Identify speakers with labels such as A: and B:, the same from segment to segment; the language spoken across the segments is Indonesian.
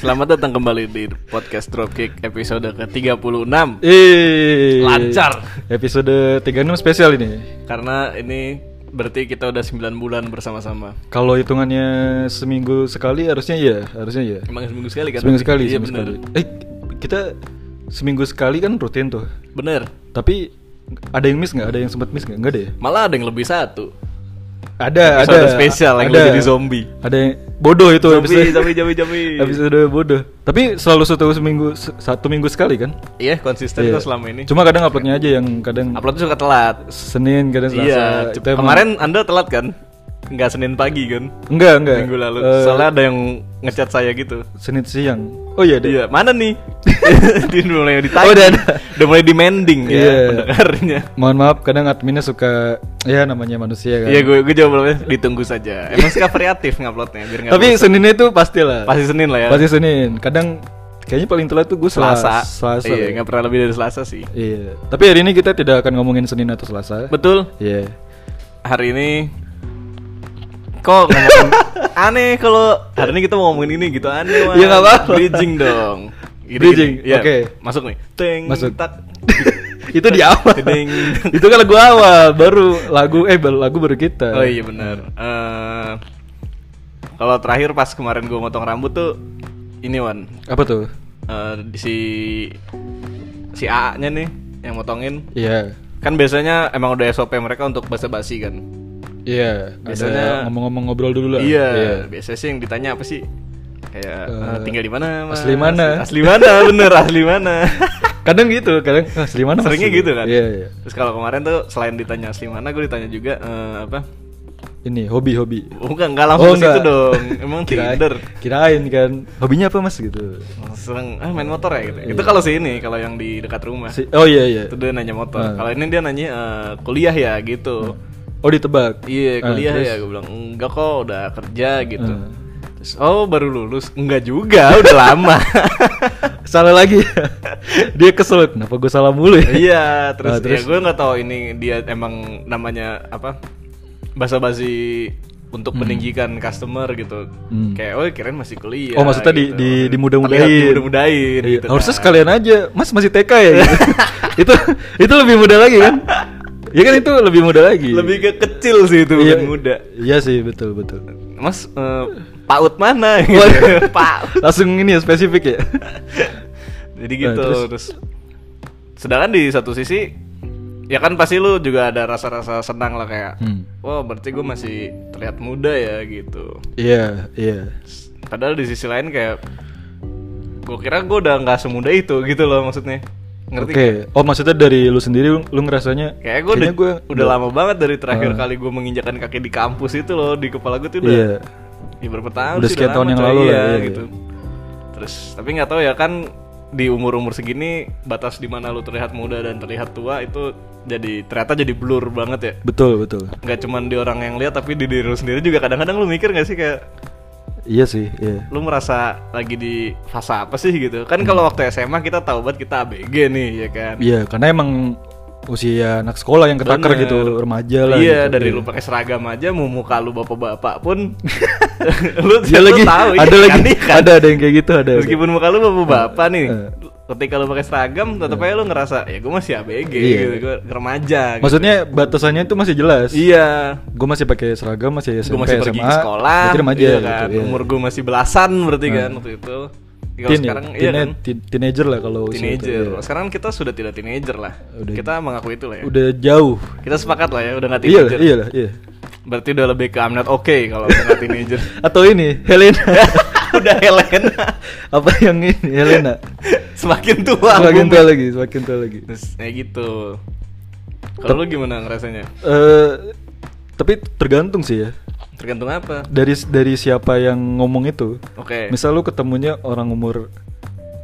A: Selamat datang kembali di podcast Dropkick episode ke-36
B: Eh,
A: Lancar.
B: Episode 36 spesial ini.
A: Karena ini berarti kita udah 9 bulan bersama-sama
B: Kalau hitungannya seminggu sekali harusnya ya, harusnya ya.
A: Emang seminggu sekali kan?
B: Seminggu sekali,
A: Iya
B: seminggu
A: bener
B: sekali. Eh, kita seminggu sekali kan rutin tuh.
A: Bener
B: Tapi ada yang miss nggak? Ada yang sempat miss nggak? Nggak deh.
A: Malah ada yang lebih satu
B: Ada,
A: Episode
B: ada.
A: spesial yang lu jadi zombie.
B: Ada yang bodoh itu episode.
A: zombie, zombie
B: episode bodoh. Tapi selalu satu seminggu satu minggu sekali kan?
A: Iya konsisten
B: Iya.
A: kok selama ini
B: Cuma kadang uploadnya aja yang kadang
A: Uploadnya suka telat
B: Senin kadang Selasa.
A: Iya
B: Itu emang-
A: Kemarin anda telat kan? Nggak Senin pagi kan?
B: enggak enggak
A: Minggu lalu
B: Eh,
A: Soalnya ada yang ngechat saya gitu
B: Senin siang. Oh iya, deh.
A: Iya, mana nih? Dia udah mulai ditanya.
B: Oh, udah ada.
A: Udah mulai demanding ya
B: Iya.
A: pendengarnya.
B: Mohon maaf kadang adminnya suka ya namanya manusia kan.
A: Iya, gue gue jawab belumnya, ditunggu saja. Emang suka variatif nguploadnya biar nggak
B: Tapi
A: bosan.
B: Seninnya itu pastilah.
A: pasti Senin lah ya.
B: Pasti Senin. Kadang kayaknya paling telat tuh gue
A: Selasa.
B: Selasa. Selasa.
A: Iya, nggak pernah lebih dari Selasa sih.
B: Iya. Tapi hari ini kita tidak akan ngomongin Senin atau Selasa.
A: Betul.
B: Iya.
A: Hari ini kok ngomongin aneh kalau hari ini kita mau ngomongin ini gitu aneh Wan.
B: Iya, nggak apa-apa.
A: Bridging dong. Gini-gini.
B: Bridging,
A: Iya,
B: oke.
A: Masuk nih. Teng
B: Masuk.
A: tak.
B: itu di awal.
A: Ding.
B: itu kan lagu awal, baru lagu eh baru lagu baru kita.
A: Oh iya benar. Eh, kalau terakhir pas kemarin gue motong rambut tuh ini Wan
B: Apa tuh?
A: Eh, di si si AA-nya nih yang motongin.
B: Iya.
A: Kan biasanya emang udah SOP mereka untuk basa-basi kan.
B: Iya,
A: Biasanya-
B: ada ngomong-ngomong ngobrol dulu lah.
A: Iya, biasanya sih yang ditanya apa sih? Kayak
B: Eh,
A: "Ah, tinggal di mana? Mas?"
B: asli mana?
A: Asli mana? Bener, asli mana?
B: Kadang gitu, kadang ah, asli mana Mas?"
A: Seringnya gitu kan.
B: Iya, iya.
A: Terus kalau kemarin tuh selain ditanya asli mana, gue ditanya juga eh, apa?
B: Ini hobi-hobi.
A: Bukan, nggak langsung ke situ
B: enggak.
A: dong. Emang
B: Oh, Kirain-
A: Tinder.
B: Kirain kan. Hobinya apa Mas gitu.
A: Langsung ah main motor ya gitu. Itu kalau si ini, kalau yang di dekat rumah.
B: Iya. Si- oh iya iya.
A: Itu dia nanya motor.
B: Ah.
A: Kalau ini dia nanya eh, kuliah ya gitu.
B: Oh ditebak.
A: Iya,
B: Ah,
A: kuliah
B: terus?
A: ya gue bilang enggak kok, udah kerja gitu.
B: Ah.
A: Terus, oh baru lulus? Enggak juga, udah lama.
B: Salah lagi. Dia kesel. Kenapa gue salah mulu ya?
A: iya, terus,
B: Ah, terus?
A: ya gue nggak tahu ini dia emang namanya apa? Basa-basi untuk meninggikan customer gitu.
B: Hmm.
A: Kayak oh kirain masih kuliah. gitu.
B: Oh, maksudnya di- di- dimudah-mudain.
A: Terlihat dimudah-mudahin
B: Iya,
A: gitu.
B: Harusnya
A: kan.
B: sekalian aja. Mas masih TK ya. gitu. itu itu lebih mudah lagi kan? ya kan itu lebih mudah lagi.
A: lebih gitu, ke kecil sih itu
B: Iya.
A: bukan muda.
B: Iya sih betul betul.
A: Mas eh, Paut mana? Gitu.
B: Waduh.
A: Paut.
B: Langsung ini ya spesifik ya.
A: Jadi
B: Nah,
A: gitu
B: terus?
A: terus. Sedangkan di satu sisi ya kan pasti lu juga ada rasa-rasa senang lah kayak
B: Hmm.
A: wah berarti gue masih terlihat muda ya gitu.
B: Iya iya.
A: Padahal di sisi lain kayak gue kira gue udah nggak semuda itu gitu loh maksudnya. Ngerti?
B: Oke.
A: nggak?
B: Oh maksudnya dari lu sendiri lu, lu ngerasanya?
A: Kayak gue udah,
B: kayaknya gua-
A: udah lama banget dari terakhir
B: Ah.
A: kali gue menginjakan kaki di kampus itu loh di kepala gue tuh udah
B: Iya.
A: ya berapa tahun
B: Udah
A: sih,
B: sekian tahun
A: lama,
B: yang
A: coy.
B: lalu lah,
A: Iya,
B: iya, iya.
A: gitu terus tapi nggak tahu ya kan di umur umur segini batas di mana lu terlihat muda dan terlihat tua itu jadi ternyata jadi blur banget ya
B: Betul betul.
A: nggak cuman di orang yang lihat tapi di diri lu sendiri juga kadang-kadang lu mikir nggak sih kayak
B: Iya sih, iya.
A: lu merasa lagi di fase apa sih gitu kan kalau waktu SMA kita tahu banget kita ABG nih ya kan
B: Iya, karena emang usia anak sekolah yang ketakar
A: Bener.
B: gitu, remaja lah.
A: iya
B: gitu.
A: dari lu pakai seragam aja mau muka lu bapak-bapak pun lu,
B: Iya
A: lu
B: lagi,
A: tahu iya
B: ada
A: kan,
B: lagi,
A: iya kan?
B: ada ada yang kayak gitu, ada. ada.
A: Meskipun muka lu bapak-bapak nih,
B: eh.
A: ketika lu pakai seragam tetap aja lu ngerasa ya gue masih ABG
B: Iya.
A: gitu, gue remaja. gitu."
B: Maksudnya batasannya itu masih jelas.
A: Iya.
B: Gue masih pakai seragam, masih Iya, SMP,
A: Gue masih pergi
B: SMA.
A: ke sekolah,
B: berarti remaja
A: iya
B: gitu,
A: kan.
B: iya. Nah.
A: Umur gue masih belasan berarti kan waktu itu. Tapi Kalau
B: Teen ya,
A: sekarang iya
B: teen-
A: kan
B: teen- teenager lah kalau usia itu,
A: teenager.
B: iya.
A: Sekarang kita sudah tidak teenager lah.
B: Udah-
A: kita mengakui itu lah ya.
B: Udah jauh.
A: Kita sepakat lah ya udah nggak
B: Iya
A: teenager.
B: lah, iya lah, iya.
A: Berarti udah lebih ke I'm not okay kalau udah nggak teenager.
B: Atau ini, Helena.
A: udah Helena
B: Apa yang ini, Helena?
A: semakin tua.
B: semakin
A: Bumi.
B: tua lagi, semakin tua lagi.
A: Terus kayak gitu. Kalau lu gimana ngerasanya?
B: Eh, tapi tergantung sih ya.
A: Tergantung apa?
B: dari dari siapa yang ngomong itu
A: Oke.
B: misal lu ketemunya orang umur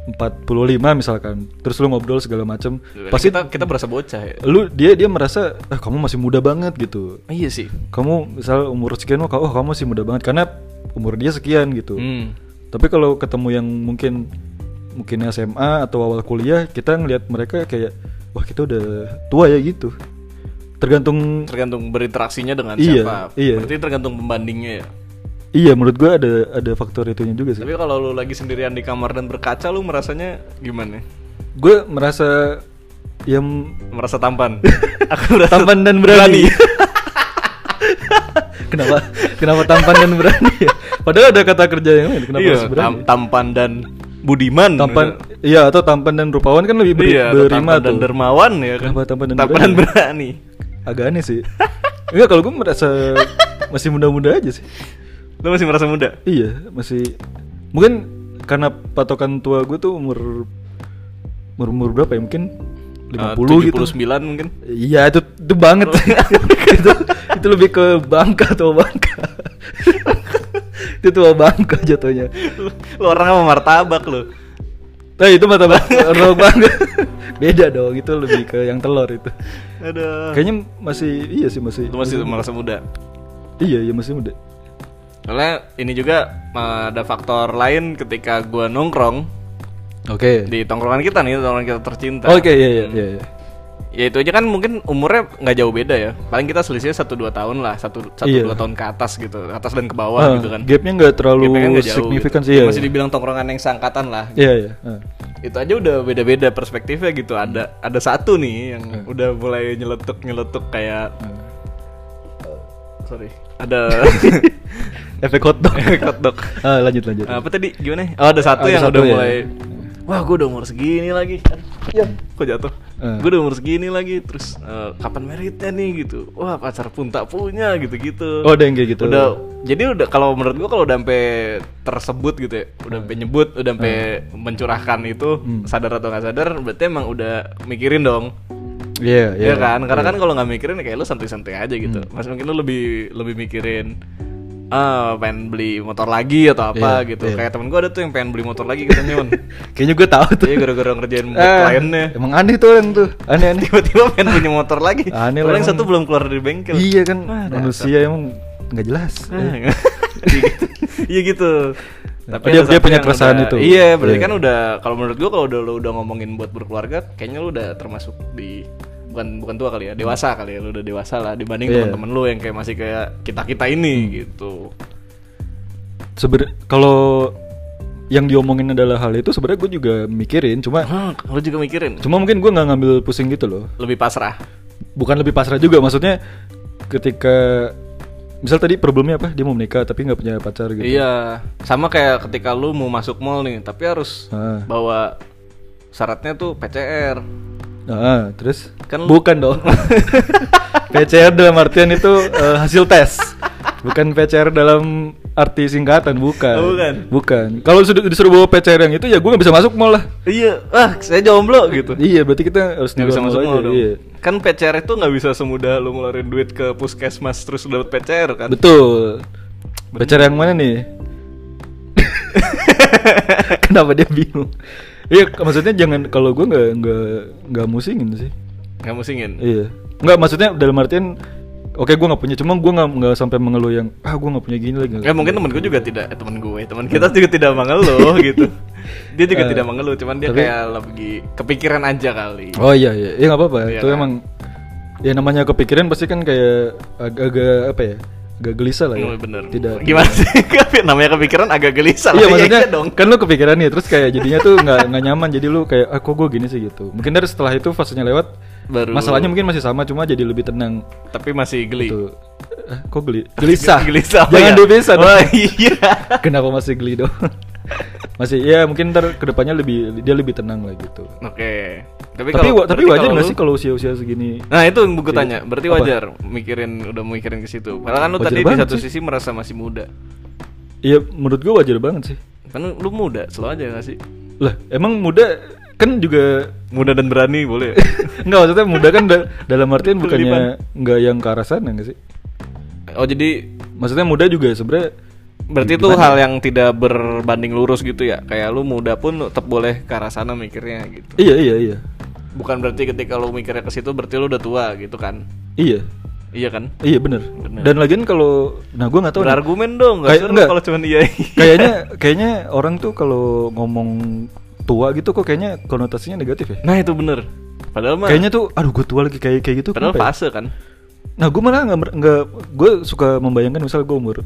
B: 45 misalkan terus lu ngobrol segala macem
A: Pasti
B: pasti
A: kita kita berasa bocah ya.
B: lu dia dia merasa ah kamu masih muda banget gitu
A: Ah, iya sih.
B: kamu misal umur sekian wah oh kamu masih muda banget karena umur dia sekian gitu
A: Hmm.
B: tapi kalau ketemu yang mungkin mungkin SMA atau awal kuliah kita ngelihat mereka kayak wah kita udah tua ya gitu tergantung
A: Tergantung berinteraksinya dengan
B: Iya,
A: siapa.
B: iya.
A: Berarti tergantung pembandingnya ya.
B: Iya, menurut gua ada ada faktor itunya juga sih.
A: Tapi kalau lu lagi sendirian di kamar dan berkaca lu merasanya gimana?
B: Gue merasa yang
A: Merasa tampan. Aku merasa
B: tampan dan berani. kenapa? Kenapa tampan dan berani? ya? Padahal ada kata kerja yang lain. Kenapa
A: iya,
B: harus berani?
A: tam- tampan dan budiman.
B: tampan,
A: misalnya.
B: iya atau tampan dan rupawan kan lebih beri,
A: iya, atau
B: berima
A: tampan dan
B: tuh.
A: dermawan ya kan.
B: Kenapa tampan dan
A: berani.
B: Agak aneh sih. Enggak kalau gue merasa masih muda-muda aja sih.
A: Lu masih merasa muda?
B: Iya, masih mungkin karena patokan tua gue tuh umur umur, umur berapa ya? Mungkin
A: Eh,
B: 50 gitu.
A: 79 mungkin.
B: Iya, itu itu banget.
A: Oh.
B: itu itu lebih ke bangka atau bangka. itu tua bangka jatuhnya.
A: Lu, lu orang sama martabak lu.
B: Nah, itu mata rok banget. Beda dong, itu lebih ke yang telur itu.
A: Aduh.
B: Kayaknya masih iya sih masih.
A: Lu Eh. masih merasa muda.
B: Iya, iya masih muda.
A: Soalnya ini juga eh, ada faktor lain ketika gua nongkrong
B: Oke.
A: di tongkrongan kita nih, tongkrongan kita tercinta. Hmm.
B: Oke, iya iya iya iya.
A: Ya itu aja kan mungkin umurnya nggak jauh beda ya. Paling kita selisihnya 1 2 tahun lah, 1 1
B: Iya.
A: 2 tahun ke atas gitu, atas dan ke bawah
B: Ah,
A: gitu kan.
B: Gapnya nggak terlalu
A: Gapnya kan nggak jauh
B: signifikan
A: gitu.
B: sih ya.
A: Masih dibilang tongkrongan yang seangkatan lah.
B: Iya iya. Ah.
A: Itu aja udah beda-beda perspektifnya gitu. Ada ada satu nih yang
B: Hmm.
A: udah mulai nyeletuk-nyeletuk kayak sorry. Ada
B: Efek hotdog.
A: hotdog.
B: Ah, lanjut lanjut.
A: Apa tadi gimana? Oh, ada satu
B: Ada
A: yang
B: satu
A: udah
B: ya.
A: mulai Wah, gue udah umur segini lagi. Kok jatuh?
B: Eh.
A: Gue udah umur segini lagi, terus eh, kapan meritnya nih gitu. Wah pacar pun tak punya gitu-gitu.
B: Oh, ada yang kayak gitu.
A: Udah, jadi udah kalau menurut gue kalau udah sampai tersebut gitu ya, udah
B: Eh.
A: sampai nyebut, udah sampai mencurahkan itu
B: Hmm.
A: sadar atau nggak sadar, berarti emang udah mikirin dong.
B: Iya iya. Hmm.
A: Iya kan? Karena kan kalau nggak mikirin ya kayak lu santai-santai aja gitu. Mas mungkin lu lebih lebih mikirin ah pengen beli motor lagi atau
B: Iya,
A: apa gitu. Kayak temen gue ada tuh yang pengen beli motor lagi katanya, Mon.
B: Kayaknya gue tahu tuh.
A: Iya gara-gara ngerjain
B: Ah,
A: kliennya
B: Emang aneh tuh orang tuh. Aneh-aneh.
A: tiba-tiba pengen punya motor lagi.
B: Aneh
A: Padahal yang
B: lah emang.
A: satu belum keluar dari bengkel.
B: Ah, iya kan
A: Wah, dasar.
B: manusia emang nggak jelas. Eh,
A: Ah, iya. Iya gitu.
B: Oh, dia-
A: ada
B: dia
A: satu
B: punya
A: yang
B: keresahan
A: udah-
B: itu.
A: Iya, berarti
B: Iya.
A: kan udah kalau menurut gua kalau udah lu udah ngomongin buat berkeluarga, kayaknya lu udah termasuk di bukan bukan tua kali ya, dewasa kali ya, lu udah dewasa lah dibanding
B: Iya. Hmm.
A: teman-teman lu yang kayak masih kayak kita-kita ini gitu.
B: Seber kalau yang diomongin adalah hal itu sebenarnya gue juga mikirin cuma
A: Hmm, lu juga mikirin
B: cuma mungkin gue nggak ngambil pusing gitu loh
A: lebih pasrah.
B: bukan lebih pasrah juga maksudnya ketika misal tadi problemnya apa dia mau menikah tapi nggak punya pacar gitu
A: Iya, sama kayak ketika lu mau masuk mall nih, tapi harus
B: Ah.
A: bawa syaratnya tuh PCR.
B: Ah, terus
A: Kan-
B: bukan dong PCR dalam artian itu eh, hasil tes bukan PCR dalam arti singkatan bukan
A: Oh, bukan.
B: bukan kalau disuruh, disuruh bawa PCR yang itu ya gue nggak bisa masuk mall lah
A: Iya, ah saya jomblo gitu.
B: iya berarti kita harus
A: Nggak bisa
B: di luar
A: masuk
B: aja,
A: mall dong.
B: iya.
A: Kan PCR itu nggak bisa semudah lu ngeluarin duit ke puskesmas terus dapat PCR kan.
B: betul PCR yang mana nih kenapa dia bingung iya maksudnya jangan kalau gue nggak nggak nggak musingin sih
A: Nggak musingin.
B: Iya. Enggak maksudnya dalam artian oke gua nggak punya, cuma gua nggak nggak sampai mengeluh yang ah gua nggak punya gini lagi.
A: Ya mungkin temen gue juga tidak, eh, temen gue, temen kita juga tidak mengeluh gitu. Dia juga
B: Eh,
A: tidak mengeluh, cuman dia
B: tapi-
A: kayak lebih kepikiran aja kali.
B: Oh iya iya, ya nggak apa-apa.
A: Iya
B: itu
A: kan?
B: emang ya namanya kepikiran pasti kan kayak agak-agak apa ya? agak gelisah lah ya.
A: Oh, bener.
B: Tidak.
A: Gimana sih? Kepi- Namanya kepikiran agak gelisah. lah.
B: Iya maksudnya
A: dong.
B: kan lu kepikiran nih terus kayak jadinya tuh nggak nggak nyaman jadi lu kayak ah kok gua gini sih gitu. Mungkin dari setelah itu fasenya lewat
A: Baru.
B: masalahnya mungkin masih sama cuma jadi lebih tenang
A: Tapi masih geli.
B: gitu. Eh, kok geli? Gelisah.
A: Gelisah. apa
B: Jangan
A: ya?
B: dipisah. dong.
A: Oh iya.
B: Kenapa masih geli dong? masih ya mungkin ntar kedepannya lebih dia lebih tenang lah gitu.
A: Oke. Tapi
B: Tapi
A: kalau-
B: wa- tapi
A: berarti
B: wajar
A: kalau
B: nggak
A: lu-
B: sih kalau usia usia segini?
A: Nah itu yang gue tanya, berarti
B: Apa?
A: wajar mikirin udah mikirin ke situ. Karena kan lu
B: Wajar
A: tadi di
B: banget
A: satu
B: sih.
A: sisi merasa masih muda.
B: Iya menurut gua wajar banget sih.
A: Kan lu muda, selalu aja gak sih?
B: Lah emang muda kan juga
A: Muda dan berani boleh.
B: nggak maksudnya muda kan da- dalam artian bukannya nggak yang ke arah sana nggak sih?
A: oh jadi
B: Maksudnya muda juga sebenarnya
A: berarti itu hal yang tidak berbanding lurus gitu ya. Kayak lu muda pun lu tetap boleh ke arah sana mikirnya gitu.
B: iya iya iya
A: Bukan berarti ketika lu mikirnya ke situ berarti lu udah tua gitu kan.
B: iya
A: Iya kan?
B: iya bener. Dan lagian kalau nah gua nggak tahu nih.
A: Berargumen dong,
B: Kayak-
A: gak seru
B: enggak.
A: kalau cuman iya.
B: kayaknya kayaknya orang tuh kalau ngomong tua gitu kok kayaknya konotasinya negatif ya.
A: Nah itu bener. Padahal mah
B: Kayaknya tuh aduh gue tua lagi kayak kayak gitu.
A: padahal
B: kenapa ya?
A: fase kan.
B: Nah gue malah nggak mer- nggak gue suka membayangkan misal gue umur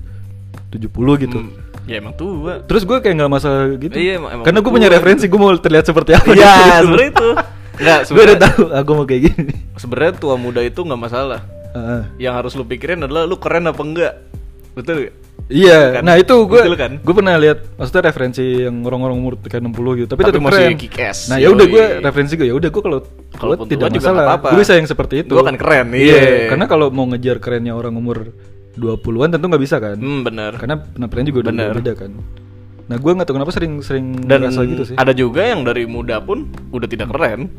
B: 25 70 gitu.
A: Hmm, ya emang tua.
B: Terus gue kayak nggak masalah gitu.
A: Iya, emang- emang
B: Karena gue punya
A: tua. gitu.
B: referensi gue mau terlihat seperti apa.
A: Iya, sebenarnya itu. Enggak,
B: Gue udah
A: sebenarnya
B: tahu, aku mau kayak gini.
A: sebenarnya tua muda itu nggak masalah.
B: Heeh.
A: Yang harus lu pikirin adalah lu keren apa enggak. Betul gak?
B: Iya,
A: Kan?
B: nah itu gue
A: Betul kan?
B: gue pernah lihat maksudnya referensi yang orang-orang umur kayak 60 gitu, tapi,
A: Tapi
B: tetap
A: masih
B: keren.
A: kick-ass.
B: Nah, ya udah
A: Yoi.
B: gue referensi gue ya udah gue kalau kalau
A: Kalaupun
B: tidak
A: tua juga nggak
B: masalah.
A: apa-apa.
B: Gue bisa yang seperti itu.
A: Gue kan keren,
B: Iya,
A: iya.
B: karena kalau mau ngejar kerennya orang umur 20-an tentu nggak bisa kan.
A: Hmm, bener.
B: Karena penampilannya juga udah
A: Bener.
B: beda kan. Nah, gue nggak tahu kenapa sering-sering
A: Dan
B: ngerasa gitu sih.
A: ada juga yang dari muda pun udah tidak keren.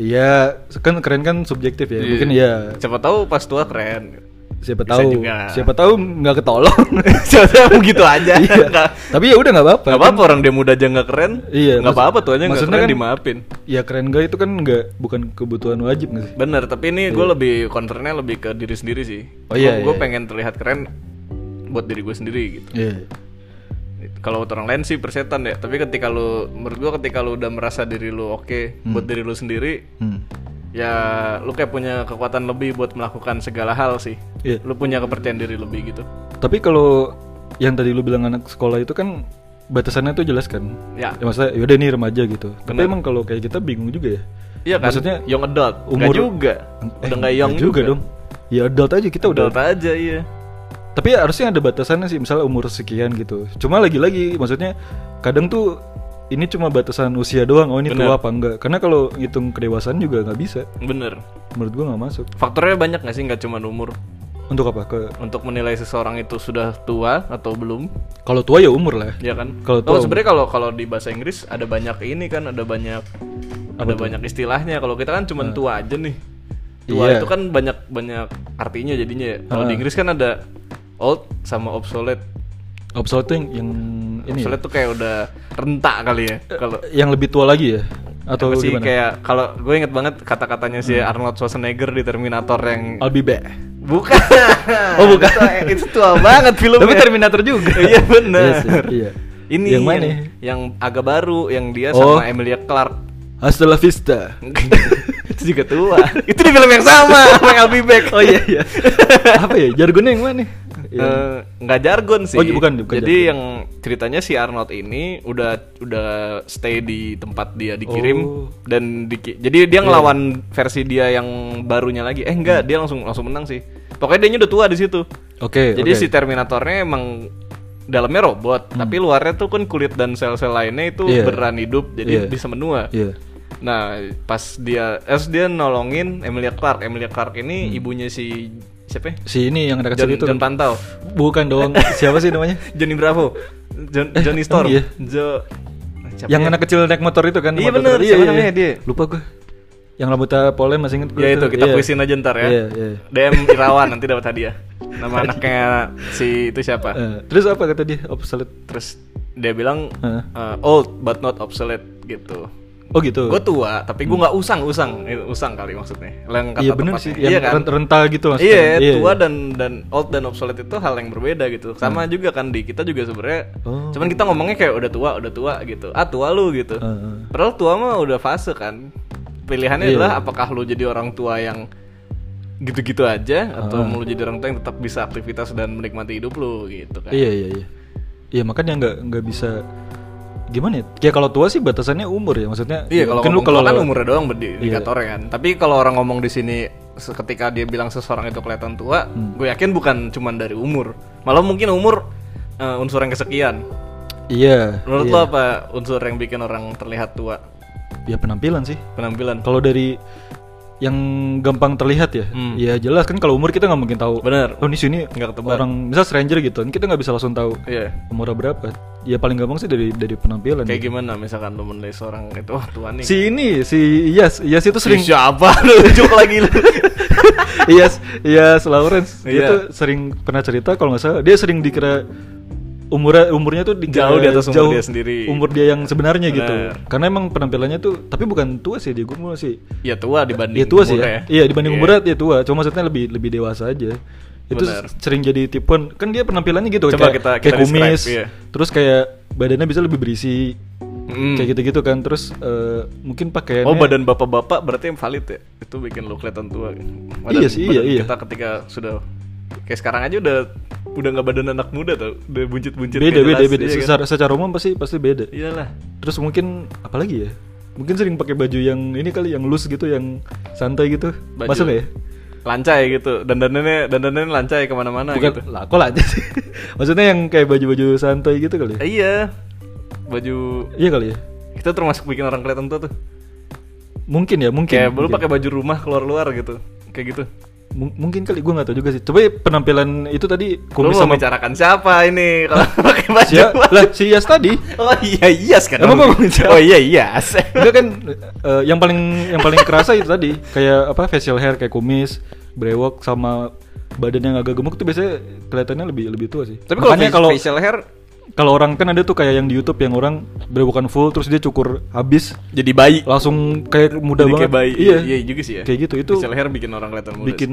B: Iya, kan keren kan subjektif ya. Mungkin ya
A: Siapa tahu pas tua keren.
B: siapa
A: Bisa
B: tahu
A: juga.
B: siapa tahu nggak ketolong.
A: Siapa tahu gitu aja.
B: Iya.
A: Nggak
B: Tapi ya udah nggak apa-apa.
A: nggak apa-apa orang dia muda aja nggak keren.
B: Iya,
A: Nggak
B: maksud-
A: apa-apa tuanya nggak
B: maksudnya
A: keren
B: kan-
A: dimaafin.
B: Ya keren gak itu kan nggak bukan kebutuhan wajib nggak sih?
A: Bener, tapi ini gue lebih concernnya lebih ke diri sendiri sih.
B: Iya. Oh, iya,
A: Gue
B: iya.
A: pengen terlihat keren buat diri gue sendiri gitu.
B: Iya.
A: Kalau buat orang lain sih persetan ya. Tapi ketika lu, menurut gue ketika lu udah merasa diri lu oke buat diri lu sendiri,
B: Hmm.
A: ya lu kayak punya kekuatan lebih buat melakukan segala hal sih.
B: Iya.
A: Lu punya kepercayaan diri lebih gitu.
B: Tapi kalau yang tadi lu bilang anak sekolah itu kan batasannya tuh jelas kan?
A: Ya,
B: Ya maksudnya yaudah nih remaja gitu. Tapi emang kalau kayak kita bingung juga ya.
A: iya kan.
B: Maksudnya
A: young adult, nggak
B: umur-
A: juga.
B: Eh,
A: udah nggak young
B: juga dong. Ya adult aja kita udah
A: Adult aja iya.
B: Tapi ya harusnya ada batasannya sih, misalnya umur sekian gitu. Cuma lagi-lagi, maksudnya kadang tuh ini cuma batasan usia doang. Oh ini tua apa enggak? Karena kalau ngitung kedewasaan juga nggak bisa.
A: Bener.
B: Menurut gua nggak masuk.
A: Faktornya banyak nggak sih? Nggak cuma umur.
B: Untuk apa? Ke
A: Untuk menilai seseorang itu sudah tua atau belum.
B: kalau tua ya umur lah.
A: Ya kan.
B: Kalau
A: Oh,
B: tua
A: sebenarnya kalau kalau di bahasa Inggris ada banyak ini kan, ada banyak ada banyak istilahnya. Kalau kita kan cuma tua aja nih. Tua
B: Nah. Iya. Nah.
A: itu kan banyak banyak artinya jadinya ya. Kalau di Inggris kan ada old sama obsolete.
B: obsolete tuh yang, yang ini, ya?
A: Obsolete tuh kayak udah rentak kali ya. Kalau
B: yang lebih tua lagi ya? Atau
A: apa sih
B: gimana? Hmm.
A: kayak kalau gue inget banget kata-katanya si Arnold Schwarzenegger di Terminator yang
B: I'll be back.
A: bukan.
B: Oh, bukan.
A: Itu tua- itu tua banget filmnya.
B: Tapi Terminator juga.
A: iya benar.
B: Iya sih, iya.
A: Ini
B: Yang mana?
A: Yang, yang agak baru yang dia
B: Oh.
A: sama Emilia Clarke.
B: Hasta la vista.
A: itu juga tua. itu di film yang sama sama yang I'll Be Back.
B: Oh iya iya. apa ya? Jargonnya yang mana? Yang-
A: Eh, nggak jargon sih.
B: Oh, bukan, bukan
A: Jadi yang ceritanya si Arnold ini udah udah stay di tempat dia dikirim
B: Oh. Iya.
A: dan diki- jadi dia ngelawan versi dia yang barunya lagi. Eh
B: Hmm.
A: enggak, dia langsung langsung menang sih. Pokoknya dia udah tua di situ.
B: Oke.
A: Jadi
B: oke. Hmm.
A: si Terminatornya emang dalamnya robot, tapi luarnya tuh kan kulit dan sel-sel lainnya itu
B: Iya.
A: beran hidup, jadi
B: Iya.
A: bisa menua.
B: Iya.
A: Nah, pas dia eh dia nolongin Emilia Clarke. Emilia Clarke ini
B: Hmm.
A: ibunya si siapa? ya?
B: Si ini yang ada kecil
A: John,
B: itu.
A: John Pantau.
B: Bukan dong. Siapa sih namanya?
A: Johnny Bravo. John, Johnny Storm.
B: iya.
A: Jo siapa
B: yang
A: ya?
B: anak kecil naik motor itu kan?
A: Iya,
B: motor
A: bener.
B: terus.
A: Siapa namanya dia?
B: Lupa gue. Yang rambutnya polem masih inget gue.
A: Ya itu kita
B: Iya.
A: puisin aja ntar ya.
B: Iya, iya.
A: DM Irawan nanti dapat hadiah. Nama anaknya si itu siapa?
B: Eh, terus apa kata dia? Obsolete.
A: Terus dia bilang
B: Heeh.
A: eh, old but not obsolete gitu.
B: Oh gitu.
A: Gue tua, tapi gue nggak usang-usang, Itu usang kali maksudnya. Lah, yang kata
B: Iya bener
A: tepatnya.
B: sih. Yang
A: Iya kan?
B: rent- rental gitu maksudnya.
A: Iya, tua dan dan old dan obsolete itu hal yang berbeda gitu. Sama juga kan di kita juga sebenarnya.
B: Hmm. Oh. Hmm.
A: Cuman kita ngomongnya kayak udah tua, udah tua gitu. Ah, tua lu gitu.
B: Heeh.
A: Padahal tua mah udah fase kan. Pilihannya
B: Iya.
A: adalah apakah lu jadi orang tua yang gitu-gitu aja
B: Ah.
A: atau mau lu jadi orang tua yang tetap bisa aktivitas dan menikmati hidup lu gitu kan.
B: Iya iya iya. Iya makanya nggak nggak bisa gimana ya? Ya kalau tua sih batasannya umur ya maksudnya.
A: Iya, kalau
B: mungkin
A: ngomong
B: lu kalau Iya.
A: tua kan umurnya doang berdi- indikatornya kan. Tapi kalau orang ngomong di sini se- ketika dia bilang seseorang itu kelihatan tua,
B: Hmm.
A: gue yakin bukan cuman dari umur. Malah mungkin umur eh, unsur yang kesekian.
B: Iya.
A: Menurut lo apa unsur yang bikin orang terlihat tua?
B: Ya penampilan sih.
A: Penampilan.
B: Kalau dari yang gampang terlihat ya,
A: Hmm.
B: ya jelas kan kalau umur kita nggak mungkin tahu.
A: Bener.
B: Oh di sini
A: Nggak ketebak.
B: orang misal stranger gitu, kita nggak bisa langsung tahu
A: Iya.
B: umurnya berapa. Ya paling gampang sih dari dari penampilan.
A: Kayak gimana misalkan lo menilai seorang itu wah tua nih.
B: Si ini si Iyas, Iyas itu sering
A: siapa lu ujuk lagi lu.
B: Iyas, Iyas Lawrence dia
A: Iya.
B: tuh sering pernah cerita kalau nggak salah dia sering dikira umurnya umurnya tuh dikira
A: Jauh di atas umur dia sendiri.
B: Umur dia yang sebenarnya gitu.
A: Bener.
B: Karena emang penampilannya tuh tapi bukan tua sih dia gue sih.
A: ya tua dibanding
B: Iya tua sih
A: umurnya
B: ya. Iya dibanding umurnya dia tua. Cuma maksudnya lebih lebih dewasa aja. Itu
A: Benar.
B: sering jadi tipuan. Kan dia penampilannya gitu
A: Coba
B: kayak,
A: kita-
B: kayak
A: kita describe,
B: kumis.
A: iya.
B: Terus kayak badannya bisa lebih berisi.
A: Mm.
B: Kayak gitu-gitu kan. Terus eh, mungkin
A: Oh
B: pakaiannya
A: badan bapak-bapak berarti yang valid ya? Itu bikin lo kelihatan tua.
B: Iya sih, iya, iya.
A: Kita ketika sudah kayak sekarang aja udah udah nggak badan anak muda tau udah buncit-buncit
B: beda
A: kayak
B: beda
A: jelas,
B: beda
A: iya kan?
B: secara secara umum pasti pasti beda
A: iyalah
B: terus mungkin apalagi ya mungkin sering pakai baju yang ini kali yang loose gitu yang santai gitu
A: Baju.
B: masuk nggak ya
A: lancai gitu dandanannya dandanannya lancai kemana-mana
B: bukan
A: gitu
B: lah kok lah aja sih maksudnya yang kayak baju-baju santai gitu kali ya?
A: Eh, iya baju
B: iya kali ya
A: kita termasuk bikin orang kelihatan tua tuh
B: mungkin ya mungkin
A: kayak belum
B: mungkin.
A: pakai baju rumah keluar-luar gitu kayak gitu
B: Mung- mungkin kali gue nggak tahu juga sih coba ya penampilan itu
A: Lu
B: tadi kumis
A: mau
B: sama
A: bicarakan siapa ini kalau pakai baju
B: Sia-
A: rumah?
B: lah si Yas tadi
A: Oh iya iya kan.
B: Emang gua bicara?
A: Oh iya iya.
B: Enggak kan eh, yang paling yang paling kerasa itu tadi kayak apa facial hair kayak kumis, brewok sama badan yang agak gemuk tuh biasanya kelihatannya lebih lebih tua sih.
A: Tapi kalau
B: Makanya
A: facial- facial hair
B: kalau orang kan ada tuh kayak yang di YouTube yang orang brewokan full terus dia cukur habis
A: jadi bayi.
B: langsung kayak muda
A: Jadi
B: banget.
A: kayak bayi.
B: Iya.
A: iya juga sih ya.
B: Kayak gitu itu
A: facial hair bikin orang kelihatan muda.
B: bikin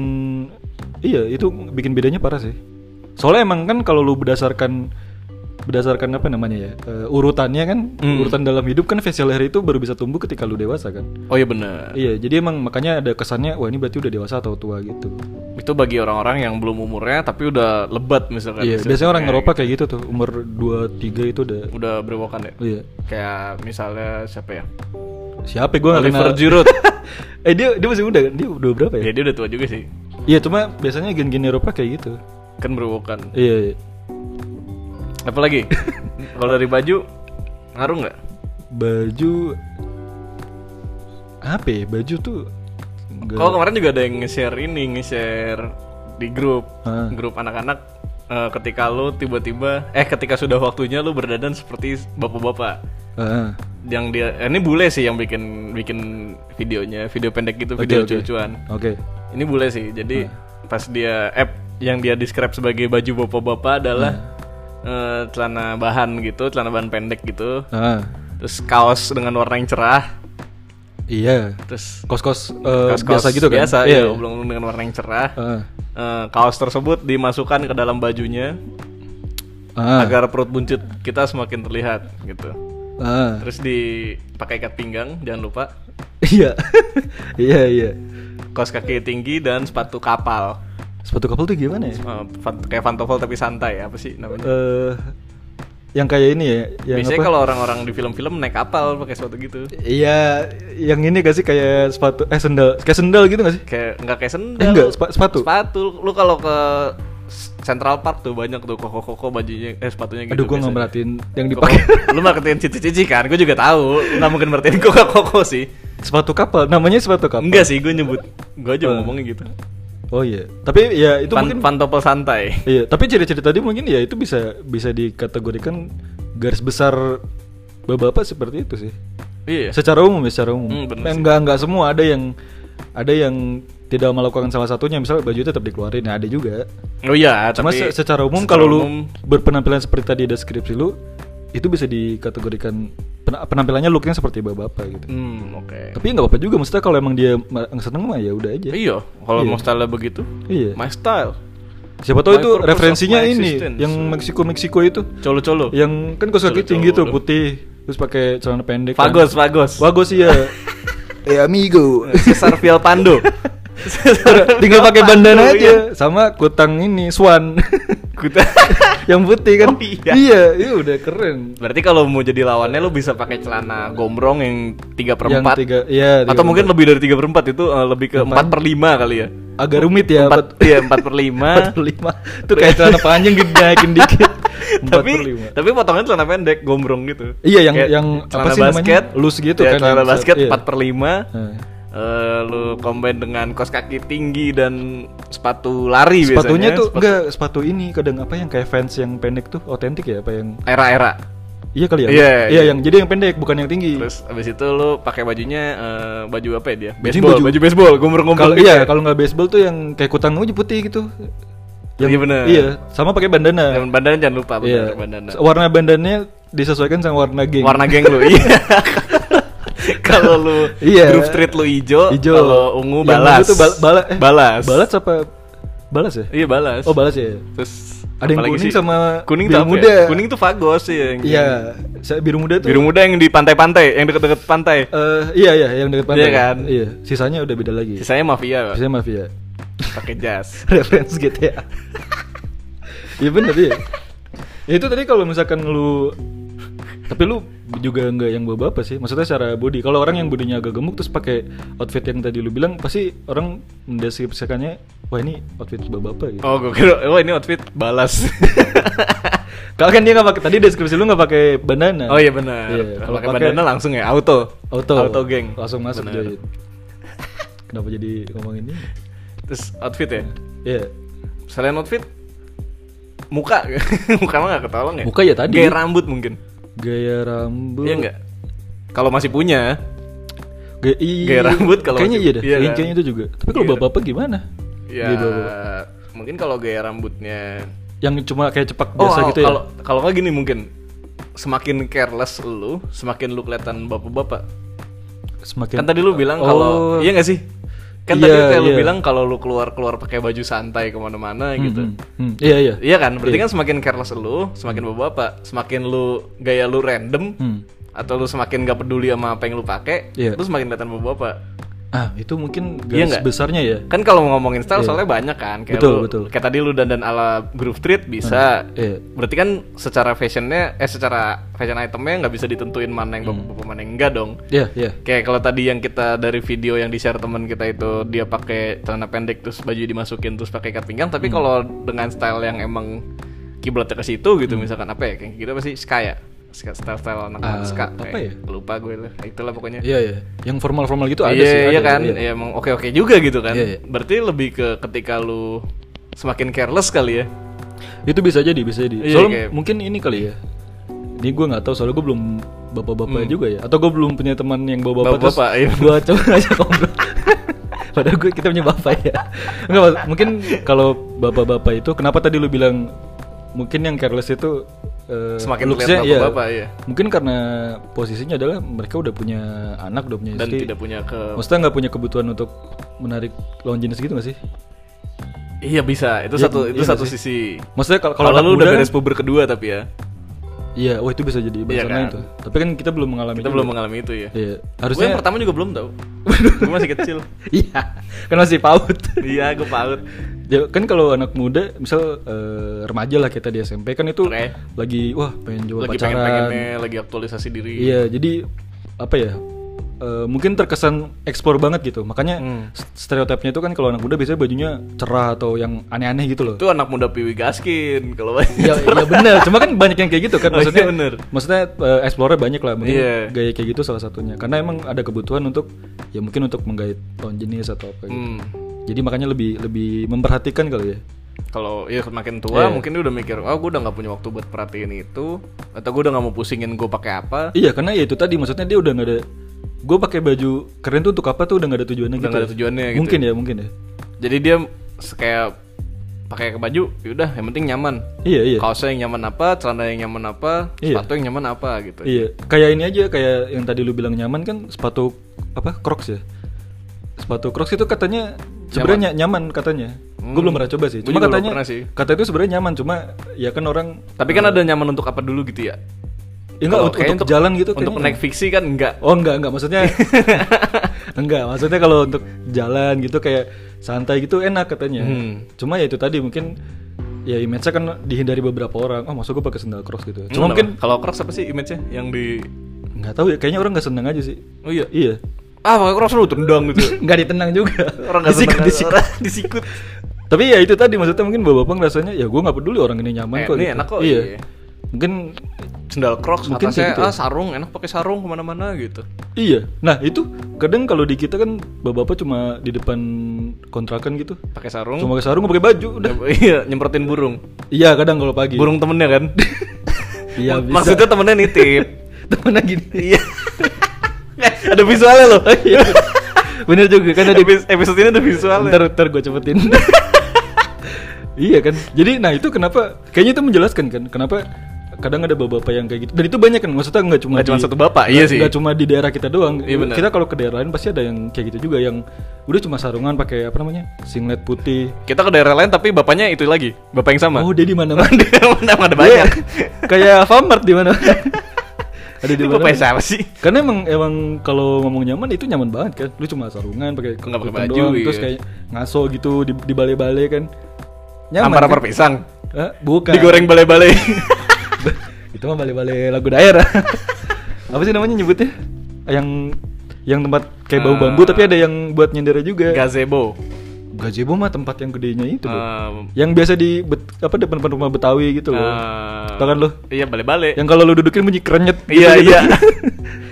B: iya itu bikin bedanya parah sih. Soalnya emang kan kalau lu berdasarkan berdasarkan apa namanya ya eh, urutannya kan
A: Hmm.
B: urutan dalam hidup kan facial hair itu baru bisa tumbuh ketika lu dewasa kan.
A: Oh iya benar.
B: Iya, jadi emang makanya ada kesannya wah ini berarti udah dewasa atau tua gitu.
A: Itu bagi orang-orang yang belum umurnya tapi udah lebat misalkan.
B: Iya,
A: Misalkan
B: biasanya orang
A: kayak
B: Eropa kayak gitu tuh, umur 23 itu udah
A: udah berewokan ya.
B: iya.
A: Kayak misalnya siapa ya?
B: Siapa ya? gua enggak
A: Oliver
B: kenal.
A: Giroud.
B: eh dia dia masih muda kan? Dia udah berapa ya?
A: ya dia udah tua juga sih.
B: Iya, cuma biasanya gen-gen Eropa kayak gitu.
A: Kan berewokan.
B: Iya, iya.
A: Apalagi kalau dari baju ngaruh nggak?
B: Baju apa ya? Baju tuh enggak
A: Kalau kemarin juga ada yang nge-share ini, nge-share di grup,
B: Ah.
A: grup anak-anak. eh, ketika lu tiba-tiba, eh ketika sudah waktunya lu berdandan seperti bapak-bapak.
B: Ah,
A: Yang dia, eh, ini bule sih yang bikin bikin videonya, video pendek gitu,
B: Oke,
A: video
B: oke. Hmm.
A: lucu-lucuan.
B: Oke.
A: Ini bule sih, jadi pas dia app yang dia describe sebagai baju bapak-bapak adalah
B: Hmm.
A: eh, celana bahan gitu, celana bahan pendek gitu,
B: Ah,
A: terus kaos dengan warna yang cerah,
B: iya.
A: terus
B: Kos-kos eh,
A: kaos-kaos
B: biasa gitu kan?
A: biasa, iya,
B: iya.
A: oblong-oblong dengan warna yang cerah.
B: Ah,
A: Eh, kaos tersebut dimasukkan ke dalam bajunya
B: ah,
A: agar perut buncit kita semakin terlihat gitu.
B: ah.
A: Terus dipakai ikat pinggang, jangan lupa.
B: Iya. Iya, iya.
A: Kaos kaki tinggi dan sepatu kapal.
B: Sepatu kapal tuh gimana ya?
A: Eh, fan- kayak pantofel tapi santai apa sih namanya?
B: eh yang kayak ini ya, yang
A: Biasanya
B: apa?
A: kalau orang-orang di film-film naik kapal pakai sepatu gitu.
B: Iya, yang ini gak sih kayak sepatu eh sendal, kayak sendal gitu gak sih?
A: Kayak nggak kayak sendal.
B: Eh, enggak, sepa- sepatu.
A: Sepatu. Lu kalau ke S- Central Park tuh banyak tuh koko-koko bajunya eh sepatunya gitu.
B: Aduh, gua nggak
A: biasanya.
B: merhatiin yang
A: Koko-
B: dipakai.
A: lu merhatiin cici-cici kan? Gue juga tahu. Nggak mungkin merhatiin koko-koko sih.
B: sepatu kapal, namanya sepatu kapal.
A: Enggak sih, gue nyebut Gue aja
B: Eh.
A: ngomongnya gitu
B: Oh iya, tapi ya itu
A: Pan-
B: mungkin.
A: Pantopel santai
B: Iya, tapi ciri-ciri tadi mungkin ya itu bisa bisa dikategorikan garis besar bapak-bapak seperti itu sih.
A: Iya
B: Secara umum ya, secara umum.
A: Hmm, bener
B: Eh,
A: sih.
B: enggak enggak semua ada yang ada yang tidak melakukan salah satunya, misalnya baju tetap dikeluarin, nah, ada juga.
A: Oh iya,
B: Cuma
A: tapi
B: se- secara umum
A: secara
B: kalau lu
A: umum,
B: berpenampilan seperti tadi deskripsi lu itu bisa dikategorikan pena- penampilannya looknya seperti bapak-bapak gitu.
A: Hmm, oke
B: Tapi nggak apa-apa juga maksudnya kalau emang dia ma- seneng mah ya udah aja.
A: Iya, kalau
B: Iya.
A: mau style begitu
B: Iya.
A: My style
B: Siapa tahu
A: My
B: itu
A: purpose of
B: referensinya
A: my
B: ini
A: existence.
B: yang Meksiko Meksiko itu
A: Colo-colo
B: yang kan kos kaki
A: Colo-colo
B: tinggi tuh
A: lu.
B: putih terus pakai celana pendek. kan.
A: Fagos, Fagos
B: Bagus iya. eh amigo.
A: Cesar Viel Pando
B: Tinggal pakai bandana
A: Iya.
B: aja sama kutang ini swan
A: Kuta-
B: yang putih kan.
A: Oh, iya.
B: iya, iya udah keren.
A: Berarti kalau mau jadi lawannya lu bisa pakai celana gombrong yang 3 per 4
B: Yang tiga, iya, tiga
A: Atau
B: per
A: mungkin lebih dari 3 per 4 itu eh, lebih ke 4 per 5 kali ya
B: agak rumit ya
A: 4,
B: empat-
A: iya, 4 per 5
B: empat per lima itu kayak celana panjang gitu naikin dikit Empat
A: tapi
B: per lima.
A: tapi potongannya celana pendek gombrong gitu
B: Iya, yang-
A: Kayak
B: yang
A: celana
B: apa sih namanya?
A: basket
B: Loose gitu
A: Iya,
B: kan,
A: celana
B: yang set,
A: basket
B: iya.
A: 4 per 5
B: Nah,
A: Eh, lu combine dengan kos kaki tinggi dan sepatu lari
B: Eh, sepatunya
A: biasanya
B: tuh
A: sepatu-
B: enggak sepatu ini kadang apa yang kayak fans yang pendek tuh otentik ya apa yang
A: era-era
B: iya kali ya
A: Iya,
B: iya
A: iya.
B: yang jadi yang pendek bukan yang tinggi
A: terus abis itu lu pakai bajunya eh, baju apa ya dia
B: Baju-
A: baseball
B: baju-
A: baju, baseball ya. gombrong-gombrong
B: kalau iya kalau nggak baseball tuh yang kayak kutang aja putih gitu
A: Iya, bener.
B: iya sama pakai bandana
A: dan bandana jangan lupa bener,
B: iya
A: bandana
B: warna bandananya disesuaikan sama warna geng
A: warna geng lu iya kalau lu
B: Iya.
A: group street lu hijau,
B: Ijo.
A: kalau ungu
B: Yang
A: balas
B: tuh bal- bala- eh,
A: balas
B: balas apa balas ya
A: iya balas
B: oh balas ya
A: Terus
B: Ada yang
A: apalagi
B: kuning
A: sih?
B: sama
A: kuning
B: biru
A: tuh apa ya?
B: muda.
A: Kuning tuh fagos sih yang
B: Iya, saya biru muda tuh.
A: biru muda yang di pantai-pantai, yang deket-deket pantai.
B: Eh, iya iya yang dekat
A: Iya
B: pantai.
A: kan?
B: Iya, sisanya udah beda lagi.
A: Sisanya mafia, Pak.
B: Sisanya mafia.
A: pakai jas.
B: Reference GTA. Iya bener iya. Ya, itu tadi kalau misalkan lu tapi lu juga nggak yang bawa apa sih maksudnya secara body kalau orang yang bodinya agak gemuk terus pakai outfit yang tadi lu bilang pasti orang mendeskripsikannya wah ini outfit bawa apa gitu
A: Oh, gue kira, oh ini outfit balas.
B: kalau kan dia nggak pakai tadi deskripsi lu nggak pakai bandana
A: oh iya benar.
B: Iya,
A: Kalau pakai bandana langsung ya auto.
B: auto
A: Auto geng.
B: langsung masuk
A: Benar.
B: Joy. kenapa jadi ngomong ini
A: Terus outfit ya.
B: ya
A: Selain outfit muka muka mah gak ketolong ya
B: Muka ya tadi.
A: gaya rambut mungkin
B: gaya rambut
A: iya nggak kalau masih punya
B: Gaya, i-
A: Gaya rambut kalau
B: kayaknya
A: masih-
B: iya dah.
A: iya
B: Kayaknya-
A: kan?
B: kayaknya itu juga. Tapi kalau
A: Iya.
B: bapak-bapak gimana?
A: ya
B: Gaya bapak-bapak.
A: mungkin kalau gaya rambutnya
B: Yang cuma kayak cepak
A: oh
B: biasa gitu ya.
A: kalau kalau nggak gini mungkin semakin careless lu semakin lu kelihatan bapak-bapak
B: Semakin
A: kan tadi lu bilang kalau
B: Oh.
A: iya nggak sih kan
B: Iya,
A: tadi kayak lu
B: iya.
A: bilang kalau lu keluar keluar pakai baju santai kemana-mana gitu
B: Hmm, hmm. Iya iya.
A: Iya kan, berarti kan semakin careless lu, semakin bapak-bapak, semakin lu gaya lu random,
B: Hmm.
A: atau lu semakin gak peduli sama apa yang lu pakai,
B: Iya.
A: lu semakin kelihatan bapak-bapak.
B: Ah, itu mungkin
A: Iya
B: garis
A: nggak?
B: besarnya ya.
A: Kan kalau mau ngomongin style soalnya banyak kan, kayak
B: Betul,
A: lu,
B: betul.
A: kayak tadi lu dandan ala groove street bisa.
B: Iya.
A: Berarti kan secara fashionnya, eh secara fashion itemnya nggak bisa ditentuin mana yang
B: Mm.
A: bapak-bapak mana yang enggak dong.
B: Iya, iya.
A: Kayak kalau tadi yang kita dari video yang di share teman kita itu dia pakai celana pendek terus baju dimasukin terus pakai ikat pinggang,
B: Hmm.
A: tapi kalau dengan style yang emang kiblatnya ke situ gitu
B: Hmm.
A: misalkan apa ya kayak gitu apa sih ska ya? Ska style style anak anak
B: Ah,
A: ska
B: apa
A: kayak lupa gue lah. Itulah pokoknya.
B: Iya, iya. Yang formal-formal gitu ada
A: iya,
B: sih, ada,
A: iya kan?
B: iya.
A: Ya emang oke-oke juga gitu kan.
B: Iya, iya.
A: Berarti lebih ke ketika lu semakin careless kali ya.
B: Itu bisa jadi, bisa jadi.
A: Iya,
B: soalnya
A: kayak-
B: mungkin ini kali ya. Ini gue nggak tahu soalnya gue belum bapak-bapak juga ya. Atau gue belum punya teman yang bawa bapak,
A: Bapak-bapak, Hmm. iya.
B: gue coba aja ngobrol. Padahal gue kita punya bapak ya. Enggak, Mas. mungkin kalau bapak-bapak itu kenapa tadi lu bilang mungkin yang careless itu eh,
A: Semakin terlihat
B: looks-nya, iya.
A: bapak-bapak, iya.
B: Mungkin karena posisinya adalah mereka udah punya anak, udah punya
A: Dan
B: istri.
A: tidak punya ke
B: Maksudnya nggak punya kebutuhan untuk menarik lawan jenis gitu gak sih?
A: Iya bisa. Itu
B: Iya,
A: satu itu
B: iya
A: satu
B: sih.
A: sisi.
B: Maksudnya kalau
A: Kalau
B: anak
A: lu udah
B: muda kan-
A: beres puber kedua tapi ya.
B: Iya, wah itu bisa
A: Iya
B: jadi bahasannya
A: kan?
B: itu. Tapi kan kita belum mengalami.
A: Kita
B: juga.
A: belum mengalami itu ya.
B: Iya,
A: Harusnya...
B: harusnya.
A: yang pertama juga belum tau Gue masih kecil
B: Iya, kan masih paut.
A: Iya gue paut
B: Ya, kan kalau anak muda, misal eh, remaja lah kita di SMP kan itu
A: Oke.
B: lagi wah pengen
A: Lagi
B: coba pacaran.
A: pengen-pengennya Lagi aktualisasi diri
B: Iya, jadi apa ya? eh, mungkin terkesan ekspor banget gitu. Makanya
A: Hmm.
B: st- stereotipnya itu kan kalau anak muda biasanya bajunya cerah atau yang aneh-aneh gitu loh.
A: Itu anak muda piwi gaskin Kalau
B: Iya, iya benar. Cuma kan banyak yang kayak gitu kan
A: Oh, iya
B: maksudnya.
A: bener.
B: Maksudnya eh, explorer banyak lah mungkin
A: Iya.
B: gaya kayak gitu salah satunya. Karena emang ada kebutuhan untuk ya mungkin untuk menggait lawan jenis atau apa gitu.
A: hmm.
B: Jadi makanya lebih lebih memperhatikan kali ya.
A: Kalau ya makin tua
B: Iya.
A: mungkin dia udah mikir Oh gue udah gak punya waktu buat perhatiin itu Atau gue udah gak mau pusingin gue pakai apa
B: Iya, karena ya itu tadi maksudnya dia udah nggak ada gue pakai baju keren tuh untuk apa tuh udah nggak ada tujuannya
A: Udah
B: gitu.
A: nggak
B: ya.
A: ada tujuannya gitu
B: Mungkin ya, mungkin ya.
A: Jadi dia se- kayak pakai ke baju yaudah yang penting nyaman
B: Iya, iya.
A: Kaosnya yang nyaman apa, celana yang nyaman apa,
B: Iya.
A: sepatu yang nyaman apa gitu
B: Iya, kayak ini aja kayak yang tadi lu bilang nyaman kan sepatu apa Crocs ya? Sepatu Crocs itu katanya sebenarnya nyaman katanya. Gue belum pernah coba sih.
A: Hmm. Gua
B: Cuma
A: juga belum
B: katanya
A: pernah sih.
B: kata itu sebenarnya nyaman cuma ya kan orang
A: Tapi kan ada nyaman untuk apa dulu gitu ya
B: ya enggak
A: Kalau
B: untuk,
A: kayaknya
B: untuk jalan gitu
A: Untuk
B: kayaknya.
A: naik fiksi kan enggak
B: Oh enggak enggak maksudnya enggak maksudnya kalau untuk jalan gitu kayak santai gitu enak katanya.
A: Hmm.
B: Cuma ya itu tadi mungkin ya image-nya kan dihindari beberapa orang. Oh, maksud gue pakai sandal Crocs gitu.
A: Hmm,
B: Cuma mungkin
A: kalau Crocs apa sih image-nya yang di
B: nggak tahu ya kayaknya orang nggak seneng aja sih.
A: Oh iya.
B: Iya.
A: Ah, pakai Crocs lu tendang gitu.
B: nggak ditendang juga
A: Orang enggak
B: Disikut,
A: seneng
B: disikut.
A: orang disikut.
B: tapi ya itu tadi maksudnya mungkin bapak-bapak ngerasanya ya gue nggak peduli orang ini nyaman
A: Eh,
B: kok
A: ini
B: gitu.
A: enak kok,
B: iya
A: iya.
B: mungkin
A: Sendal Crocs
B: Mungkin
A: Mungkin atasnya
B: kayak gitu ya.
A: ah sarung, enak pakai sarung kemana mana gitu.
B: iya nah itu kadang kalau di kita kan bapak-bapak cuma di depan kontrakan gitu
A: Pakai sarung.
B: cuma pakai sarung nggak pakai baju udah
A: Iya, nyemprotin burung.
B: iya kadang kalau pagi
A: Burung temennya kan.
B: iya bisa
A: Maksudnya temennya nitip.
B: temennya gini
A: Iya. ada visualnya loh.
B: Iya. bener juga kan ada
A: Epis- episode ini ada visualnya.
B: ntar ntar gue cepetin iya kan jadi nah itu kenapa kayaknya itu menjelaskan kan kenapa kadang ada bapak-bapak yang kayak gitu dan itu banyak kan maksudnya nggak cuma
A: Nggak cuma
B: di-
A: satu bapak, iya sih.
B: nggak cuma di daerah kita doang
A: Iya, benar.
B: kita kalau ke daerah lain pasti ada yang kayak gitu juga yang udah cuma sarungan pakai apa namanya singlet putih
A: Kita ke daerah lain tapi bapaknya itu lagi, bapak yang sama.
B: oh Iya. dia di mana mana
A: Emang ada banyak.
B: kayak Alfamart di mana ada di
A: Ini
B: mana
A: bapaknya siapa sih?
B: karena emang emang kalau ngomong nyaman itu nyaman banget kan lu cuma sarungan pakai
A: Nggak pakai
B: kutang
A: baju,
B: doang,
A: iya.
B: terus kayak ngaso gitu di di balai-balai kan nyaman
A: Ampar-ampar
B: kan?
A: pisang.
B: Eh, bukan.
A: Digoreng balai-balai.
B: itu mah balik-balik lagu daerah apa sih namanya nyebutnya yang yang tempat kayak bau bambu
A: Ah.
B: tapi ada yang buat nyender juga
A: Gazebo.
B: gazebo mah tempat yang gedenya Iya. itu loh
A: Ah,
B: yang biasa di bet- apa depan-depan rumah betawi gitu loh
A: Ah.
B: Tau kan lu?
A: Iya, balai-balai.
B: yang kalau lu dudukin bunyi krenyet gitu
A: Iya,
B: gitu.
A: iya.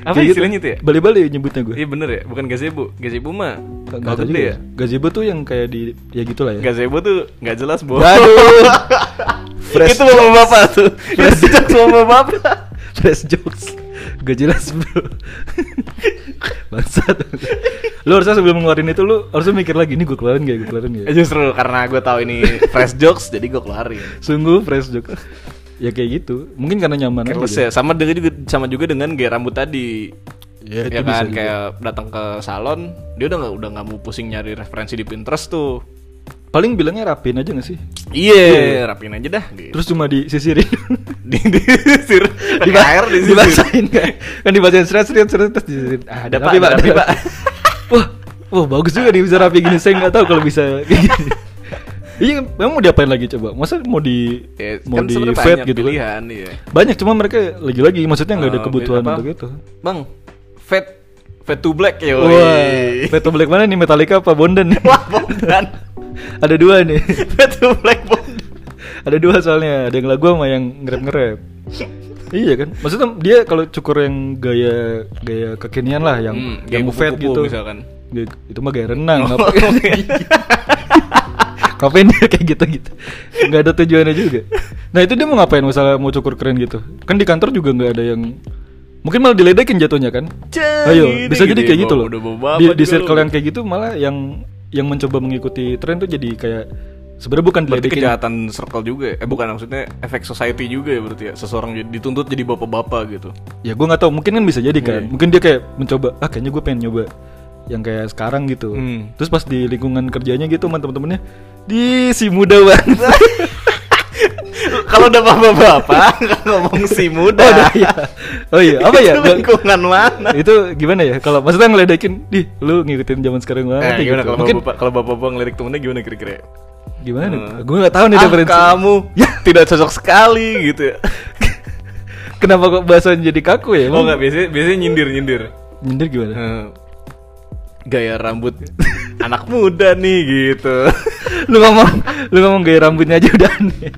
A: Apa
B: Kayak gitu.
A: istilahnya itu ya?
B: balik-balik nyebutnya gue
A: Iya bener ya, bukan gazebo. Gazebo mah
B: Nggak
A: kalau
B: tahu
A: gede
B: juga.
A: ya.
B: gazebo tuh yang kayak di ya gitulah ya
A: Gazebo tuh nggak jelas, Bo.
B: Waduh. Fresh
A: Itu mama bapak tuh.
B: Fresh.
A: Itu jokes mama bapak.
B: Fresh jokes Gak jelas bro Bangsat Lu harusnya sebelum ngeluarin itu Lu harusnya mikir lagi Ini gue keluarin gak ya, gue keluarin gak ya?
A: Eh, Justru karena gue tahu ini fresh jokes, jadi gue keluarin.
B: Sungguh fresh jokes Ya kayak gitu Mungkin karena nyaman
A: Careless
B: aja
A: ya, sama dengan juga sama juga dengan gaya rambut tadi.
B: Ya,
A: Ya,
B: itu bisa
A: kan
B: juga.
A: kayak datang ke salon, dia udah nggak udah nggak mau pusing nyari referensi di Pinterest tuh.
B: Paling bilangnya rapin aja gak sih?
A: Iya, rapin aja dah. Gitu.
B: Terus cuma disisirin
A: di di sir, di
B: Diba-
A: air di sisir.
B: Dibasahin kan Kan dibasahin seret seret seret Terus disisirin ah,
A: Ada,
B: rapi,
A: Pak, ada,
B: ada,
A: Pak.
B: Pak. Wah Wah bagus juga dia bisa rapi gini Saya gak tahu kalau bisa kayak gini Iya, memang mau diapain lagi coba? Masa mau di
A: Ya,
B: mau
A: kan
B: di
A: sebenarnya
B: fade
A: banyak
B: gitu kan?
A: pilihan, iya.
B: Banyak cuma mereka lagi-lagi maksudnya nggak ada
A: Eh,
B: kebutuhan
A: apa?
B: untuk itu.
A: Bang, fade fade to black ya.
B: Wah, Veto Black mana nih Metallica apa Bondan? nih?
A: Wah, bondan.
B: ada dua nih.
A: Fade to black bondan.
B: Ada dua soalnya, ada yang lagu sama yang ngerap-ngerap. iya kan? Maksudnya dia kalau cukur yang gaya gaya kekinian lah yang
A: Hmm, gaya
B: yang buffet
A: kupu-kupu
B: gitu.
A: misalkan. Oh,
B: Gaya- itu mah gaya renang, ngapain? ngapain dia kayak gitu-gitu? Nggak ada tujuannya juga. Nah itu dia mau ngapain misalnya mau cukur keren gitu? Kan di kantor juga nggak ada yang Mungkin malah diledekin jatuhnya kan?
A: Ceng,
B: Ayo,
A: ini
B: bisa jadi
A: gitu
B: kayak
A: ya,
B: gitu
A: bawa-
B: loh.
A: udah bawa bapak
B: Di, di
A: juga
B: circle
A: lu.
B: yang kayak gitu malah yang yang mencoba mengikuti tren tuh jadi kayak sebenarnya bukan
A: Berarti
B: diledekin.
A: kejahatan circle juga ya? Eh bukan maksudnya efek society juga ya berarti ya Seseorang jadi- dituntut jadi bapak-bapak gitu
B: Ya gue nggak tahu, mungkin kan bisa jadi kan.
A: Iya.
B: Mungkin dia kayak mencoba, ah kayaknya gue pengen nyoba yang kayak sekarang gitu.
A: Hmm.
B: Terus pas di lingkungan kerjanya gitu sama temen-temennya, di si muda banget.
A: Kalau udah bapak-bapak ngomong si muda
B: Oh, udah, iya. Oh iya, apa ya?
A: Itu lingkungan mana?
B: itu gimana ya? Kalau maksudnya ngeledekin, di lu ngikutin zaman sekarang
A: Eh,
B: banget. ya,"
A: gimana
B: gitu.
A: kalau
B: mungkin
A: bapak kalau bapak-bapak ngelirik temennya gimana kira-kira?
B: gimana?
A: Hmm.
B: Gue nggak tahu nih
A: Ah,
B: referensi.
A: kamu
B: Ya.
A: tidak cocok sekali gitu ya.
B: Kenapa kok bahasanya jadi kaku ya?
A: Oh
B: Emang Iya.
A: enggak biasanya biasanya nyindir-nyindir.
B: Nyindir gimana?
A: Eh, gaya rambut anak muda nih gitu.
B: lu ngomong lu ngomong gaya rambutnya aja udah aneh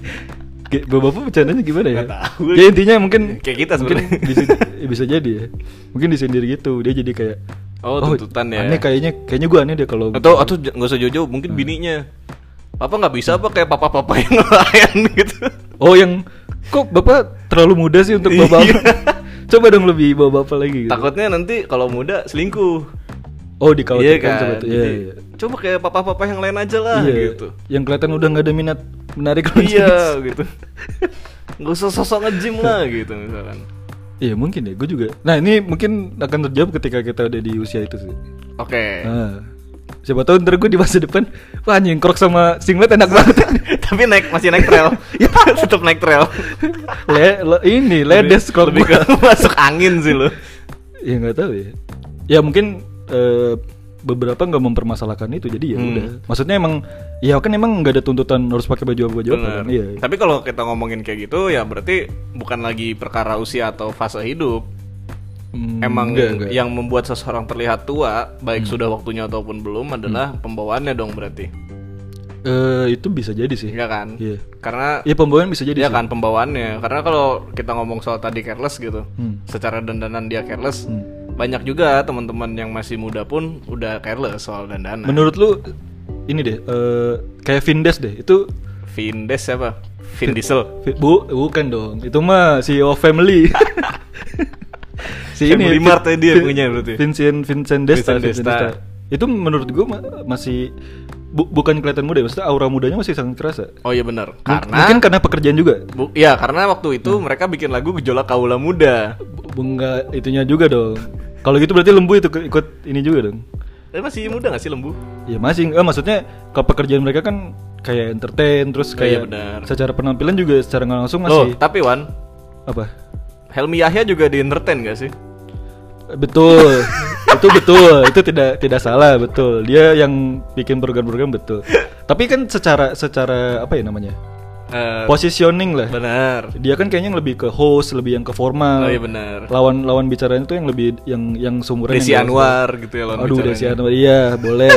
B: Ge- bapak bercandanya gimana ya?
A: Nggak tahu.
B: Ya intinya mungkin
A: Kayak kita
B: mungkin
A: sebenarnya.
B: bisa, ya bisa jadi ya. Mungkin disindir gitu. Dia jadi kayak
A: Oh, tuntutan ya.
B: Aneh gitu. Hmm. kayaknya kayaknya gua aneh deh kalau
A: Atau atau j- nggak usah jauh-jauh mungkin bininya. Papa nggak bisa apa kayak papa-papa yang lain gitu.
B: Oh yang kok bapak terlalu muda sih untuk bapak.
A: Iya.
B: Coba dong lebih bawa bapak lagi. Gitu.
A: Takutnya nanti kalau muda selingkuh.
B: Oh dikhawatirkan
A: iya kan.
B: coba tuh. Iya,
A: Jadi,
B: iya.
A: Coba kayak papa-papa yang lain aja lah
B: Iya,
A: gitu.
B: Yang kelihatan udah nggak ada minat menarik lagi.
A: iya gitu. Nggak usah sosok nge-gym lah gitu misalkan.
B: Iya mungkin ya, gue juga. Nah ini mungkin akan terjawab ketika kita udah di usia itu sih.
A: Oke.
B: Ah. Siapa tahu ntar gue di masa depan Wah anjing krok sama singlet enak banget
A: Tapi naik masih naik trail.
B: Ya.
A: Tetap naik trail.
B: Le, le- Ini ledes
A: Lebih-
B: krok
A: lebih
B: gua.
A: ke masuk angin sih lu.
B: Ya nggak tahu ya Ya mungkin eh, beberapa nggak mempermasalahkan itu jadi ya
A: Hmm.
B: udah maksudnya emang ya kan emang nggak ada tuntutan harus pakai baju apa baju apa
A: Bener.
B: kan? iya
A: Tapi kalau kita ngomongin kayak gitu ya berarti bukan lagi perkara usia atau fase hidup.
B: Hmm,
A: Emang ya,
B: nggak, nggak.
A: yang membuat seseorang terlihat tua, baik sudah waktunya ataupun belum adalah
B: Hmm.
A: pembawaannya dong berarti.
B: Eh, itu bisa jadi sih
A: Iya kan?
B: Iya.
A: Karena
B: ya pembawaan bisa jadi
A: dia
B: sih.
A: kan pembawaannya. Karena kalau kita ngomong soal tadi careless gitu,
B: Hmm.
A: secara dandanan dia careless.
B: Hmm.
A: Banyak juga teman-teman yang masih muda pun udah careless soal dandanan.
B: menurut lu ini deh eh, kayak Vindes deh itu
A: Vin Des siapa? Vin Diesel.
B: Fi- Bu, bukan dong. Itu mah CEO family.
A: Family
B: Vin-
A: Mart ya dia
B: Vin-
A: punya berarti.
B: Vincent Vincent Desta,
A: Vincent
B: Vincent
A: Desta.
B: Desta. Itu menurut gue masih bu- bukan kelihatan muda, maksudnya aura mudanya masih sangat kerasa.
A: Oh iya benar.
B: M-
A: Karena
B: Mungkin Hmm. karena pekerjaan juga.
A: Bu- ya karena waktu itu mereka bikin lagu gejolak kaula muda.
B: Bu- Enggak itunya juga dong. Kalau gitu berarti lembu itu ke- ikut ini juga dong.
A: Tapi masih muda gak sih lembu?
B: Ya masih eh, maksudnya kalau pekerjaan mereka kan kayak entertain terus
A: Oh, iya
B: kayak
A: benar.
B: secara penampilan juga secara nggak langsung
A: Loh,
B: masih
A: Oh, tapi Wan,
B: apa?
A: Helmi Yahya juga di entertain gak sih?
B: Betul. itu betul. Itu tidak tidak salah, betul. Dia yang bikin program-program betul. Tapi kan secara secara apa ya namanya?
A: Eh,
B: Positioning lah.
A: benar
B: Dia kan kayaknya yang lebih ke host, lebih yang ke
A: oh
B: formal.
A: iya benar
B: Lawan lawan bicaranya tuh yang lebih yang yang sumuran.
A: Desi
B: yang jelas.
A: Anwar gitu ya lawan
B: Aduh,
A: bicaranya.
B: Desi Anwar. Iya, boleh.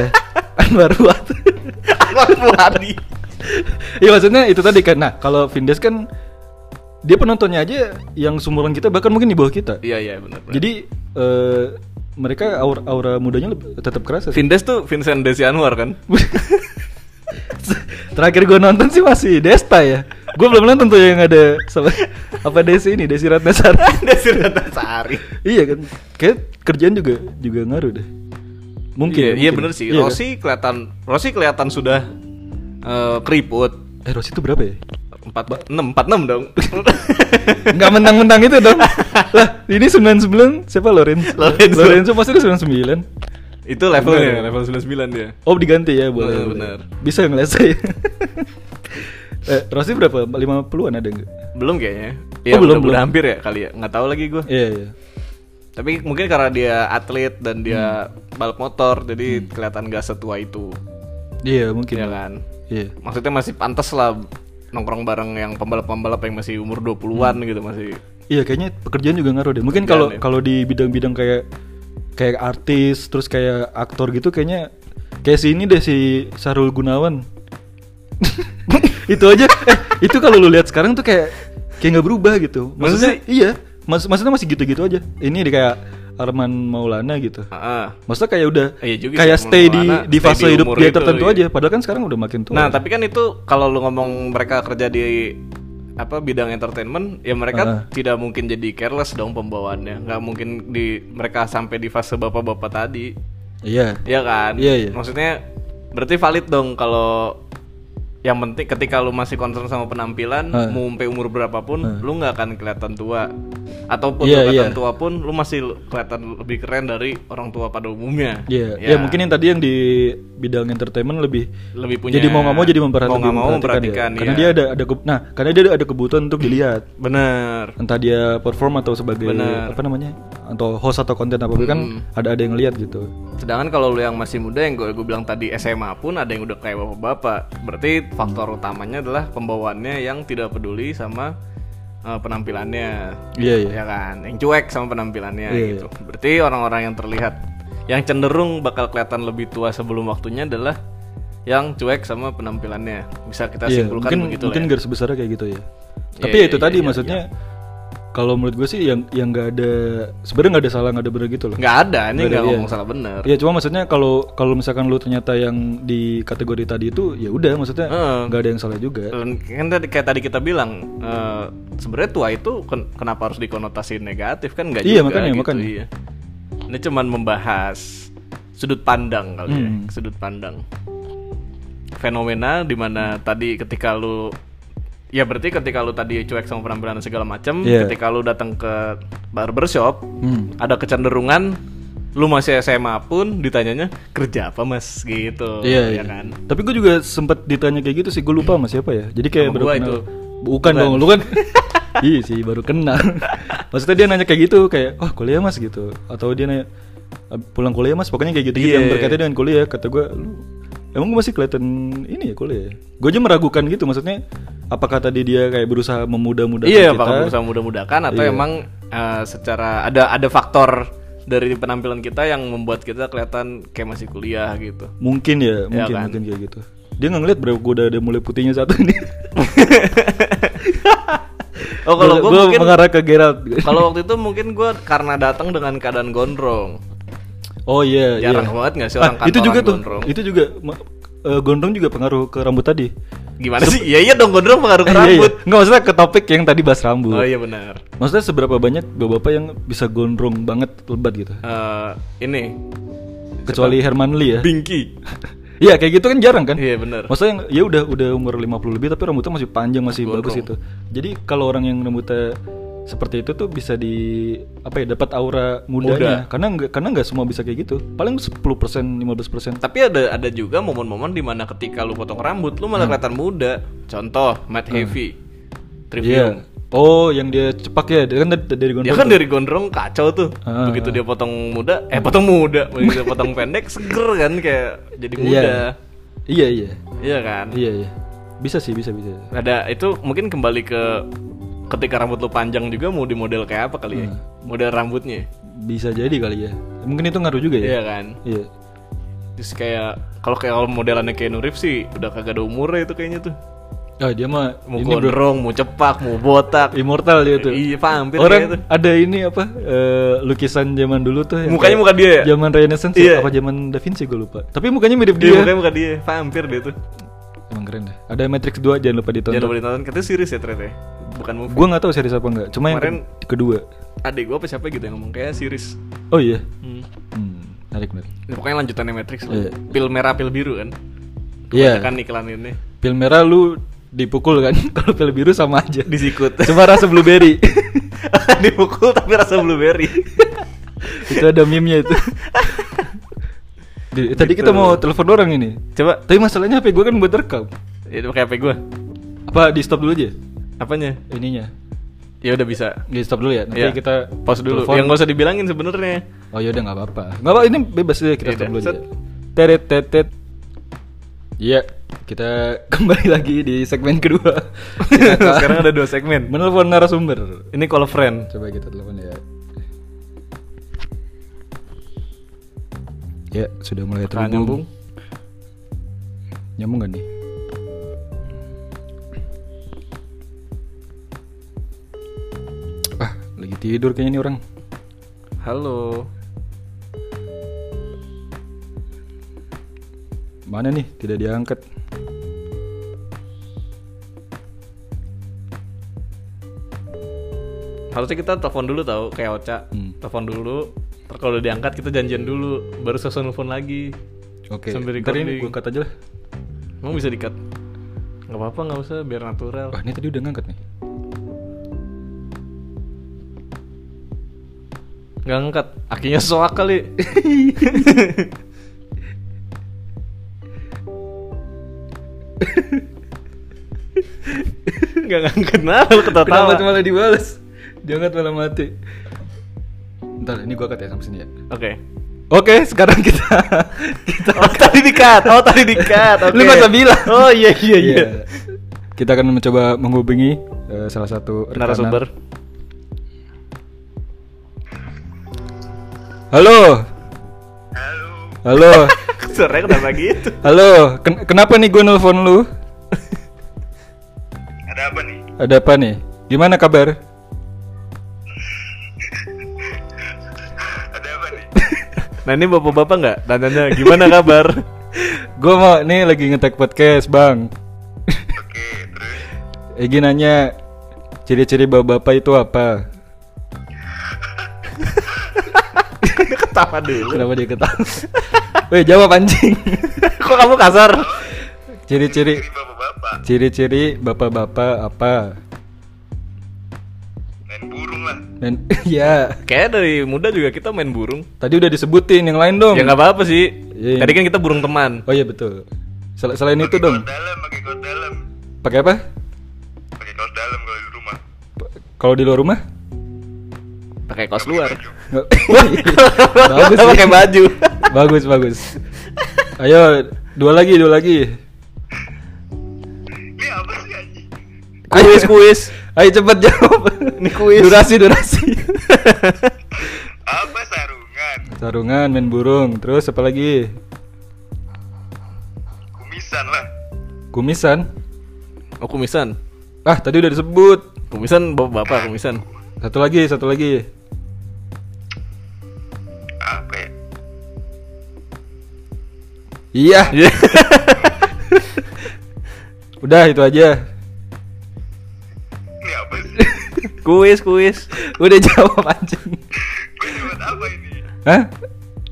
B: Anwar Fuad.
A: Anwar Fuladi
B: Iya maksudnya itu tadi kan. Nah, kalau Vindes kan dia penontonnya aja yang sumuran kita bahkan mungkin di bawah kita.
A: iya iya benar benar.
B: Jadi eh, mereka aura, aura mudanya lebih- tetap kerasa. sih.
A: Vindes tuh Vincent Desi Anwar kan
B: Terakhir gue nonton sih masih Desta ya. Gue belum nonton tuh yang ada sama apa Desi ini Desi Ratnasari.
A: Desi Ratnasari
B: iya kan. Kayak kerjaan juga juga ngaruh deh. Mungkin.
A: iya,
B: ya,
A: iya bener
B: mungkin.
A: sih
B: Iya kan?
A: Rossi kelihatan Rossi kelihatan sudah eh, keriput
B: Eh Rossi itu berapa ya?
A: empat ba- enam empat enam dong
B: Enggak mentang-mentang itu dong. lah, ini 99 siapa Lorenzo?
A: Lorenzo.
B: Lorenzo maksudnya 99.
A: itu levelnya
B: Bener. ya,
A: level 99 dia
B: Oh diganti ya boleh.
A: Bener,
B: boleh.
A: bener.
B: Bisa ngelesai. eh, Rossi berapa? 50-an ada enggak?
A: belum kayaknya
B: Oh,
A: udah,
B: belum, belum.
A: udah hampir ya kali ya nggak tahu lagi gue
B: Iya, iya.
A: tapi mungkin karena dia atlet dan dia
B: Hmm.
A: balap motor jadi kelihatan gak setua itu
B: Iya, Hmm. mungkin.
A: ya kan
B: Iya.
A: maksudnya masih pantas lah nongkrong bareng yang pembalap-pembalap yang masih umur 20-an gitu masih
B: Iya, kayaknya pekerjaan juga ngaruh deh. Mungkin kalau
A: Pekerjaan, ya.
B: kalau di bidang-bidang kayak kayak artis, terus kayak aktor gitu kayaknya kayak si ini deh si Sarul Gunawan. itu aja. Eh, itu kalau lu lihat sekarang tuh kayak kayak nggak berubah gitu.
A: Masa
B: Maksudnya
A: sih?
B: iya. Mas, maksudnya masih gitu-gitu aja. Ini di kayak Arman Maulana gitu.
A: Heeh.
B: Maksudnya kayak udah
A: Iya juga sih,
B: kayak
A: Arman
B: stay di
A: Maulana,
B: di
A: stay
B: fase
A: di
B: hidup
A: umur
B: dia
A: itu,
B: tertentu
A: iya.
B: aja. Padahal kan sekarang udah makin tua.
A: nah tapi kan itu kalau lu ngomong mereka kerja di apa bidang entertainment ya mereka
B: Heeh.
A: tidak mungkin jadi careless dong pembawaannya nggak mungkin di mereka sampai di fase bapak-bapak tadi
B: Iya.
A: Iya kan?
B: Iya, iya.
A: Maksudnya berarti valid dong kalau yang penting ketika lu masih concern sama penampilan,
B: Heeh.
A: mau sampai umur berapapun
B: Heeh.
A: lu nggak akan kelihatan tua. Ataupun
B: Iya,
A: lu kelihatan
B: iya.
A: tua pun lu masih kelihatan lebih keren dari orang tua pada umumnya.
B: Iya,
A: Ya,
B: ya mungkin yang tadi yang di bidang entertainment lebih
A: lebih punya
B: jadi mau nggak mau jadi memperhatikan,
A: Mau nggak mau
B: ya.
A: memperhatikan
B: Karena
A: ya.
B: dia ada ada ke- nah, karena dia ada kebutuhan untuk dilihat.
A: bener.
B: Entah dia perform atau sebagai
A: Benar. Hmm.
B: apa namanya? atau host atau konten apa kan ada ada yang lihat gitu.
A: Sedangkan kalau lu yang masih muda yang gue bilang tadi SMA pun ada yang udah kayak bapak-bapak. Berarti faktor utamanya adalah pembawaannya yang tidak peduli sama eh, penampilannya.
B: Iya, iya.
A: ya kan yang cuek sama penampilannya
B: Iya,
A: gitu berarti orang-orang yang terlihat yang cenderung bakal kelihatan lebih tua sebelum waktunya adalah yang cuek sama penampilannya bisa kita
B: Iya,
A: simpulkan
B: mungkin
A: begitu
B: mungkin
A: lah
B: garis besarnya kayak gitu ya. Tapi
A: Iya,
B: ya itu
A: iya,
B: tadi
A: iya,
B: maksudnya kalau menurut gue sih yang yang nggak ada sebenarnya nggak ada salah nggak ada benar gitu
A: ya.
B: loh.
A: nggak ada ini
B: Nggak ada,
A: nggak
B: iya.
A: ngomong salah bener
B: Ya cuma maksudnya kalau kalau misalkan lu ternyata yang di kategori tadi itu ya udah maksudnya
A: Heeh.
B: nggak ada yang salah juga.
A: Dan kan tadi kayak tadi kita bilang eh, sebenarnya tua itu ken- kenapa harus dikonotasi negatif kan nggak
B: Iya,
A: juga
B: makanya,
A: gitu,
B: makanya.
A: iya. ini cuman membahas sudut pandang kali ya
B: Hmm.
A: sudut pandang fenomena dimana tadi ketika lu ya berarti ketika lu tadi cuek sama penampilan dan segala macam
B: Iya.
A: ketika lu datang ke barbershop
B: Hmm.
A: ada kecenderungan lu masih SMA pun ditanyanya kerja apa mas gitu
B: Iya,
A: ya
B: iya.
A: kan
B: Tapi gue juga sempet ditanya kayak gitu sih, gue lupa sama siapa ya. Jadi kayak
A: Sama
B: baru
A: gua
B: kenal.
A: itu.
B: Bukan dong, lu kan. iya sih, baru kenal. Maksudnya dia nanya kayak gitu, kayak, "Wah, kuliah Mas" gitu. Atau dia nanya "Eh, pulang kuliah Mas, pokoknya kayak gitu, gitu
A: Iya.
B: yang berkaitan dengan kuliah. Kata gue, "Lu emang gue masih kelihatan ini ya kuliah?" Gue aja meragukan gitu, maksudnya apakah tadi dia kayak berusaha memudah-mudahkan
A: Iya,
B: kita?
A: apakah berusaha mudah-mudahkan atau
B: Iya.
A: emang eh, secara ada ada faktor dari penampilan kita yang membuat kita kelihatan kayak masih kuliah gitu.
B: Mungkin ya, mungkin
A: kan?
B: mungkin kayak gitu. Dia nggak ngeliat bro, gue udah ada mulai putihnya satu nih.
A: Oh, kalau gue
B: Gua
A: mungkin
B: mengarah ke Gerald.
A: kalau waktu itu mungkin gue karena datang dengan keadaan gondrong.
B: Oh iya, iya.
A: Jarang banget nggak sih orang
B: Ah, itu
A: kantoran
B: juga tuh.
A: gondrong?
B: Itu juga ma- eh, gondrong juga pengaruh ke rambut tadi.
A: Gimana sih? Iya iya dong gondrong pengaruh ke
B: Eh, iya, iya.
A: rambut.
B: Nggak maksudnya ke topik yang tadi bahas rambut.
A: Oh iya benar.
B: Maksudnya seberapa banyak bapak-bapak yang bisa gondrong banget lebat gitu.
A: Eh, ini
B: Kecuali Herman Lee ya.
A: Bingki.
B: Iya, kayak gitu kan jarang kan?
A: Iya benar.
B: Maksudnya yang ya udah udah umur 50 lebih tapi rambutnya masih panjang, masih bagus gitu. Jadi kalau orang yang rambutnya seperti itu tuh bisa di apa ya dapat aura mudanya karena nggak karena nggak semua bisa kayak gitu paling 10% 15%
A: Tapi ada ada juga momen-momen dimana ketika lu potong rambut lu
B: Hmm.
A: malah kelihatan muda. Contoh Matt Heavy, Trivium.
B: Iya. Oh, yang dia cepak ya, dia kan dari,
A: Dia
B: dari gondrong.
A: kan dari gondrong kacau tuh.
B: Ah,
A: Begitu dia potong muda, eh potong muda, begitu dia potong pendek seger kan kayak jadi muda.
B: Iya iya.
A: Iya kan?
B: Iya iya. Bisa sih, bisa bisa.
A: Ada itu mungkin kembali ke ketika rambut lu panjang juga mau di model kayak apa kali ya?
B: Hmm.
A: Model rambutnya.
B: Bisa jadi kali ya. Mungkin itu ngaruh juga
A: Iya
B: ya.
A: kan?
B: Iya.
A: Terus kayak kalau kayak kalau modelannya kayak Nurif sih udah kagak ada umurnya itu kayaknya tuh.
B: Ah, dia mah
A: Mau
B: ini bro,
A: gondrong, mau cepak, mau botak.
B: immortal dia tuh.
A: Iya, hampir kayak itu.
B: Orang ada ini apa eh, lukisan zaman dulu tuh yang
A: Mukanya
B: kayak
A: muka dia ya?
B: Zaman Renaissance
A: Iya.
B: apa zaman Da Vinci gue lupa. Tapi mukanya mirip
A: Dia
B: dia.
A: mukanya bukan dia, hampir dia tuh.
B: Emang keren deh. Ada Matrix 2 jangan lupa ditonton.
A: Jangan lupa ditonton, katanya series ya ternyata ya? Bukan movie.
B: Gue nggak tahu series apa enggak. Cuma yang
A: Kemarin-
B: ke- kedua.
A: Adik gue apa siapa gitu yang ngomong kayak series.
B: Oh iya. Hmm, menarik menarik.
A: Ya, pokoknya lanjutannya Matrix lah.
B: Iya.
A: Pil merah, pil biru kan.
B: Iya.
A: Kan iklan ini
B: Pil merah lu dipukul kan? Kalau pil biru sama aja.
A: disikut.
B: Cuma rasa blueberry.
A: Dipukul tapi rasa blueberry.
B: itu ada meme-nya itu. Di- Tadi
A: Gitu.
B: kita mau telepon orang ini.
A: Coba
B: Tapi masalahnya HP gue kan buat rekam.
A: itu pakai HP gue.
B: Apa di stop dulu aja?
A: Apanya?
B: Ininya.
A: Ya udah bisa.
B: Di stop dulu ya. Nanti
A: Iya.
B: kita
A: Pause dulu.
B: telepon.
A: Yang gak usah dibilangin sebenarnya.
B: Oh yaudah nggak apa-apa. Nggak apa ini bebas aja
A: Yaudah,
B: kita stop dulu aja.
A: Iya, set.
B: Teret tet tet. Iya, kita kembali lagi di segmen kedua.
A: Sekarang ada dua segmen.
B: Menelpon narasumber.
A: Ini call friend.
B: Coba kita telepon ya. Ya, sudah mulai
A: Nah, nyambung.
B: terhubung. Nyambung nggak nih? Ah, lagi tidur kayaknya nih orang.
A: Halo.
B: Mana nih? Tidak diangkat.
A: Harusnya kita telepon dulu tau kayak Ocha.
B: Hmm.
A: Telepon dulu. Terus kalau udah diangkat kita janjian dulu. Baru selesai nelfon lagi.
B: Oke.
A: Sambil
B: Ntar
A: recording.
B: ini gue angkat aja lah.
A: Emang bisa dikat? Gak apa-apa, gak usah. Biar natural.
B: Wah, Ah, ini tadi udah ngangkat nih.
A: Gak angkat. Akhirnya soak kali. Gak ngangkat nah, lu ketawa-tawa.
B: Kenapa malah dibales? Diangkat malah mati. Ntar ini gue angkat ya sama sini ya.
A: Oke.
B: Oke, sekarang kita kita
A: Oh tadi dikat, oh tadi dikat. Oke.
B: Lu nggak usah bilang.
A: Oh iya iya iya.
B: Iya. Kita akan mencoba menghubungi eh, salah satu rekanan.
A: Narasumber.
B: Halo. Halo. Halo.
A: Suaranya kenapa gitu?
B: Halo. Ken- kenapa nih gue nelpon lu?
C: Ada apa nih?
B: Ada apa nih? Gimana kabar?
C: Ada apa nih?
A: Nah ini bapak-bapak nggak? Tanya-tanya gimana kabar?
B: Gue mau nih lagi ngetek podcast, Bang.
C: Oke, terus
B: Egi nanya ciri-ciri bapak-bapak itu apa?
A: Dia ketawa dulu.
B: Kenapa dia ketawa? Weh, jawab anjing.
A: Kok kamu kasar?
B: Ciri-ciri
C: ini bapak-bapak
B: ciri-ciri bapak-bapak apa?
C: main burung lah.
B: Dan ya,
A: Kayaknya dari muda juga kita main burung.
B: tadi udah disebutin yang lain dong.
A: Ya nggak apa-apa sih.
B: Iya, iya.
A: Tadi kan kita burung teman.
B: Oh iya betul. Sel- selain itu
C: Pakai
B: dong,
C: kaos dalam, pakai kaos dalam,
B: pakai apa?
C: pakai kaos dalam kalau di rumah.
B: P- Kalau di luar rumah?
A: Pakai kaos luar.
B: Nggak-
A: Bagus
B: bagus sih.
A: pakai baju.
B: bagus bagus. Ayo, dua lagi, dua lagi.
C: Ini apa sih anjing?
A: Kuis kuis.
B: Ayo cepet jawab.
A: Ini kuis.
B: Durasi, durasi.
C: Apa sarungan?
B: Sarungan, main burung, terus apa lagi?
C: Kumisan lah.
B: Kumisan.
A: Oh kumisan.
B: Ah, tadi udah disebut.
A: Kumisan bapak-bapak kumisan.
B: Satu lagi, satu lagi.
C: Apa ya?
B: Iya,
A: Iya.
B: udah itu aja.
C: Ini apa sih?
A: kuis kuis.
B: Udah jawab anjing.
C: Gue dapat apa ini?
B: Hah?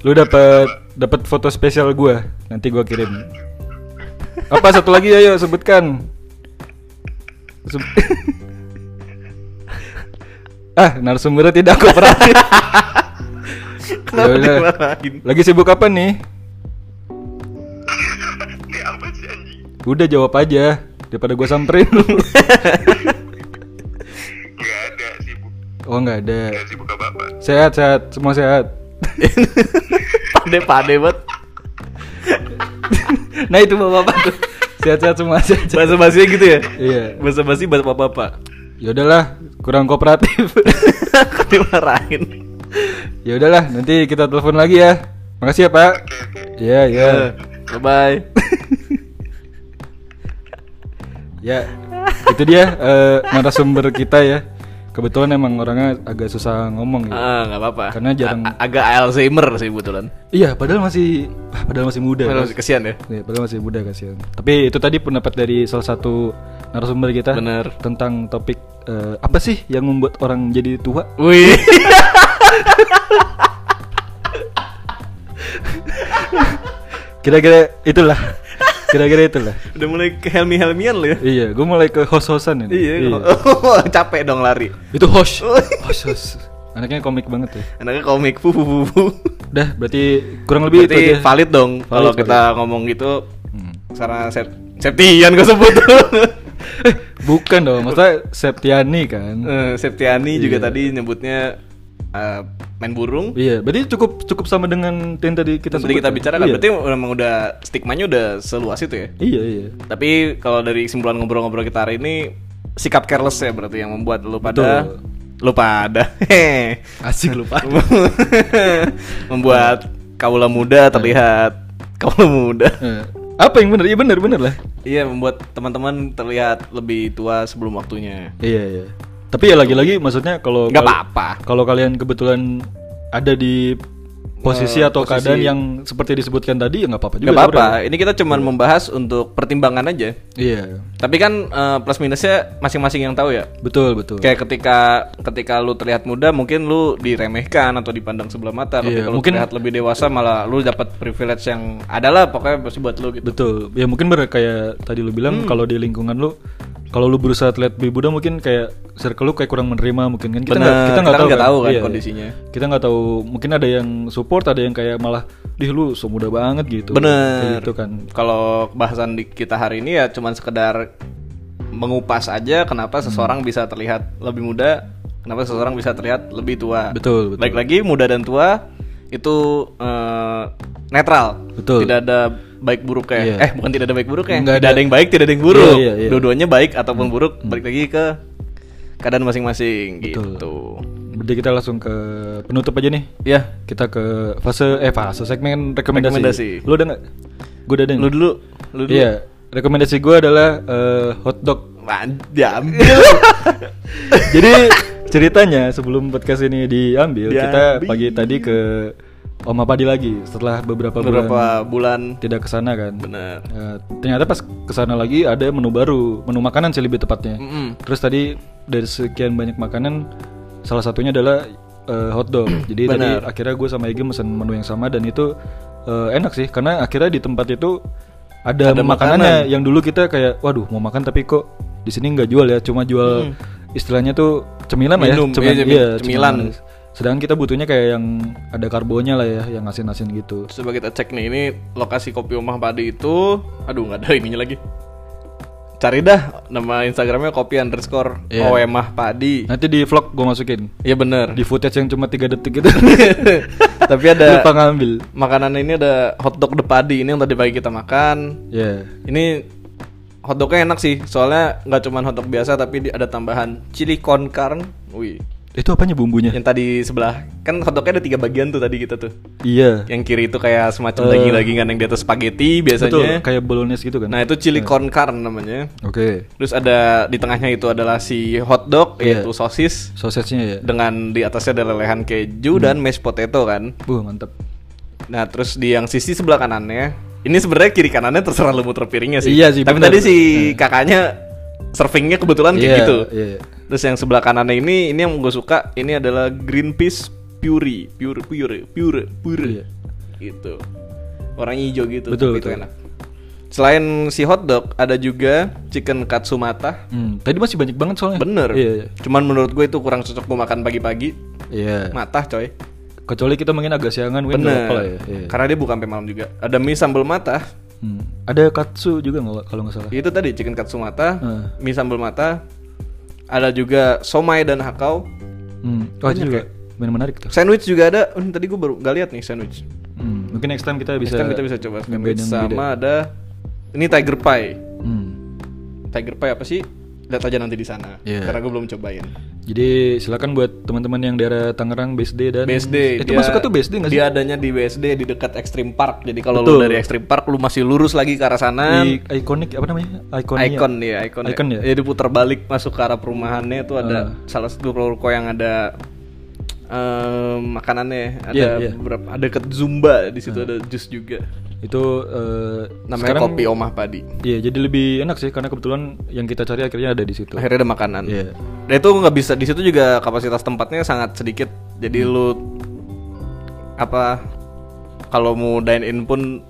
B: Lu dapat dapat foto spesial gua. Nanti gua kirim. Apa satu lagi ayo sebutkan. Seb- ah, narasumbernya tidak kooperatif.
A: Kenapa
B: Yaudah.
A: dimarahin?
B: Lagi sibuk apa nih?
C: Ini apa sih anjing?
B: Udah jawab aja daripada gua samperin lu.
C: Gak ada sibuk.
B: Oh, nggak ada.
C: Gak sibuk apa apa.
B: Sehat, sehat, semua sehat.
A: Pade pade banget.
B: Nah, itu bapak-bapak tuh. Sehat-sehat semua sehat-sehat.
A: bahasa basinya gitu ya
B: Iya.
A: bahasa basi bahasa bapak bapak
B: Ya udahlah, kurang kooperatif.
A: Aku dimarahin
B: ya udahlah, nanti kita telepon lagi ya. Makasih ya, Pak. Iya, iya.
A: Eh, bye bye
B: Ya, itu dia eh, narasumber kita ya. Kebetulan emang orangnya agak susah ngomong ya.
A: Ah, nggak apa-apa.
B: Karena jarang-
A: A- agak Alzheimer sih kebetulan.
B: Iya, padahal masih ah, padahal masih muda.
A: Padahal
B: Mas.
A: kesian ya.
B: Iya, padahal masih muda kasihan. Tapi itu tadi pendapat dari salah satu narasumber kita
A: Bener.
B: tentang topik eh, apa sih yang membuat orang jadi tua?
A: Wih.
B: Kira-kira itulah. Kira-kira itulah.
A: Udah mulai ke helmi helmian lo ya.
B: Iya, gue mulai ke host-hostan ini.
A: Iya. Capek dong lari.
B: Itu host. host, host. Anaknya komik banget ya.
A: Anaknya komik. Fu, fu, fu, fu.
B: Udah, berarti kurang lebih itu
A: Berarti
B: aja. Hmm.
A: valid dong
B: Valid,
A: kalau kita ngomong gitu. Karena Sep- Septian gue sebut.
B: Eh, bukan dong, maksudnya Septiani kan.
A: Eh, Septiani juga
B: Iya.
A: tadi nyebutnya eh, main burung.
B: Iya, berarti cukup cukup sama dengan yang tadi kita
A: Tadi kita
B: sebut.
A: bicara
B: iya.
A: kan berarti memang udah stigmanya udah seluas itu ya.
B: Iya, iya.
A: Tapi kalau dari kesimpulan ngobrol-ngobrol kita hari ini sikap careless ya berarti yang membuat lu pada
B: Betul.
A: lu pada heh.
B: Asik lupa.
A: membuat kaula muda terlihat kaula muda.
B: Eh, apa yang bener? Iya bener bener lah.
A: Iya, membuat teman-teman terlihat lebih tua sebelum waktunya.
B: Iya iya. Tapi ya lagi-lagi maksudnya kalau
A: Nggak
B: kal-
A: apa-apa.
B: Kalau kalian kebetulan ada di posisi
A: Eh,
B: atau
A: posisi-
B: keadaan yang seperti disebutkan tadi ya nggak apa-apa juga.
A: Gak apa-apa,
B: sebenarnya.
A: ini kita cuman membahas untuk pertimbangan aja.
B: Iya.
A: Tapi kan eh, plus minusnya masing-masing yang tahu ya.
B: Betul betul.
A: Kayak ketika ketika lu terlihat muda mungkin lu diremehkan atau dipandang sebelah mata, tapi
B: Iya,
A: kalau
B: mungkin-
A: terlihat lebih dewasa malah lu dapat privilege yang adalah pokoknya pasti buat lu gitu.
B: Betul. Ya mungkin bener kayak tadi lu
A: Hmm.
B: bilang kalau di lingkungan lu kalau lu berusaha terlihat lebih muda mungkin kayak circle lu kayak kurang menerima mungkin kan kita
A: Bener,
B: nggak kita nggak
A: kan
B: tahu,
A: nggak tahu kan
B: Iya, iya.
A: kondisinya.
B: Kita nggak tahu mungkin ada yang support ada yang kayak malah dih lu semuda banget gitu.
A: Bener.
B: Kayak gitu kan.
A: Kalau bahasan di kita hari ini ya cuman sekedar mengupas aja
B: Hmm.
A: kenapa seseorang bisa terlihat lebih muda, kenapa seseorang bisa terlihat lebih tua.
B: Betul, betul.
A: Baik lagi muda dan tua itu eh, netral.
B: Betul.
A: Tidak ada baik buruknya.
B: Iya.
A: Eh bukan tidak ada baik buruknya.
B: Nggak
A: tidak ada.
B: ada.
A: yang baik, tidak ada yang buruk.
B: Iya, Hmm. iya, iya.
A: Dua-duanya baik ataupun buruk balik lagi ke keadaan masing-masing gitu.
B: Berarti kita langsung ke penutup aja nih.
A: Ya,
B: Kita ke fase eh fase segmen rekomendasi.
A: Rekomendasi.
B: Lu ada nggak? Gue udah ada.
A: lu
B: nih.
A: dulu, lu dulu.
B: Iya. Rekomendasi gue adalah eh, hotdog.
A: Man, diambil.
B: Jadi ceritanya sebelum podcast ini diambil, kita pagi tadi ke Oma Padi lagi setelah beberapa, bulan
A: Beberapa bulan
B: tidak kesana kan.
A: Bener.
B: Eh, ternyata pas kesana lagi ada menu baru, menu makanan sih lebih tepatnya.
A: Mm-mm.
B: Terus tadi dari sekian banyak makanan, salah satunya adalah eh, hotdog. Jadi tadi
A: Benar.
B: akhirnya gue sama Egy pesan menu yang sama dan itu eh, enak sih karena akhirnya di tempat itu ada,
A: Ada
B: makanannya yang dulu kita kayak, waduh mau makan tapi kok di sini nggak jual ya, cuma jual istilahnya tuh cemilan lah
A: Minum,
B: ya, Cemilan-
A: iya, cemi-
B: iya,
A: cemilan.
B: Sedangkan kita butuhnya kayak yang ada karbonya lah ya, yang asin-asin gitu.
A: Terus Coba kita cek nih, ini lokasi kopi Omah Padi itu Aduh nggak ada ininya lagi Cari dah, nama instagramnya kopi underscore
B: Iya.
A: Omah Padi
B: Nanti di vlog gue masukin
A: Iya bener
B: di footage yang cuma 3 detik gitu.
A: Tapi ada
B: lupa ngambil.
A: makanan ini ada hotdog de padi Ini yang tadi pagi kita makan
B: Ya.
A: Ini hotdognya enak sih Soalnya nggak cuma hotdog biasa tapi di- ada tambahan chili con carne Wih
B: Itu apanya bumbunya?
A: Yang tadi sebelah Kan hotdognya ada tiga bagian tuh tadi kita tuh
B: Iya.
A: Yang kiri itu kayak semacam
B: Eh.
A: daging-dagingan yang di atas spaghetti
B: Betul,
A: biasanya
B: kayak bolognese gitu kan.
A: Nah itu chili con carne namanya.
B: Oke.
A: Terus ada di tengahnya itu adalah si hotdog
B: Iya.
A: yaitu sosis
B: Sausage-nya ya.
A: dengan di atasnya ada lelehan keju dan
B: Hmm.
A: mashed potato kan.
B: Wah, Uh, mantap.
A: Nah terus di yang sisi sebelah kanannya ini sebenarnya kiri kanannya terserah lu muter piringnya sih.
B: Iya sih,
A: Tapi
B: bener.
A: tadi si kakaknya servingnya kebetulan kayak
B: Iya,
A: gitu.
B: iya.
A: Terus yang sebelah kanannya ini ini yang gue suka ini adalah green peas puree pure pure pure pure
B: Iya.
A: gitu warnanya hijau gitu
B: Betul,
A: itu
B: betul.
A: enak selain si hotdog ada juga chicken katsumata
B: Hmm, tadi masih banyak banget soalnya.
A: bener
B: Iya, iya.
A: cuman menurut gue itu kurang cocok gue makan pagi-pagi
B: Iya.
A: mata coy
B: Kecuali kita mungkin agak siangan mungkin nggak
A: bener
B: apa-apa lah ya. Iya.
A: karena dia bukan sampai malam juga ada mie sambal mata
B: Hmm. Ada katsu juga nggak kalau nggak salah.
A: itu tadi chicken katsumata
B: Hmm.
A: mie sambal mata ada juga somai dan hakau
B: Hmm. Oh, itu juga
A: ya.
B: main menarik tuh.
A: sandwich juga ada Hmm, tadi gue baru nggak lihat nih sandwich
B: Hmm. Mungkin next time kita bisa
A: Next time kita bisa coba
B: nyobain
A: sandwich
B: yang beda.
A: sama ada Ini Tiger Pie.
B: Hmm.
A: Tiger Pie apa sih? Lihat aja nanti di sana.
B: Iya.
A: Karena gue belum cobain.
B: Jadi silakan buat teman-teman yang daerah Tangerang BSD dan Eh,
A: BSD.
B: itu masuk tuh BSD nggak sih?
A: Dia adanya di BSD di dekat Extreme Park. Jadi kalau lu
B: Betul.
A: dari Extreme Park lu masih lurus lagi ke arah sana.
B: Di ikonik apa namanya? Ikonia.
A: Icon ya, icon.
B: Icon Ah. ya?
A: Jadi putar balik masuk ke arah perumahannya itu ada salah satu ruko yang ada em, makanannya, ada
B: Iya, iya.
A: beberapa ada dekat Zumba di situ ada jus juga.
B: Itu eh,
A: Namanya
B: sekarang-
A: kopi Omah Padi.
B: Iya, jadi lebih enak sih karena kebetulan yang kita cari akhirnya ada di situ.
A: Akhirnya ada makanan.
B: Gitu. Iya.
A: Dan itu nggak bisa di situ juga kapasitas tempatnya sangat sedikit. Jadi
B: Hmm.
A: lu apa kalau mau dine in pun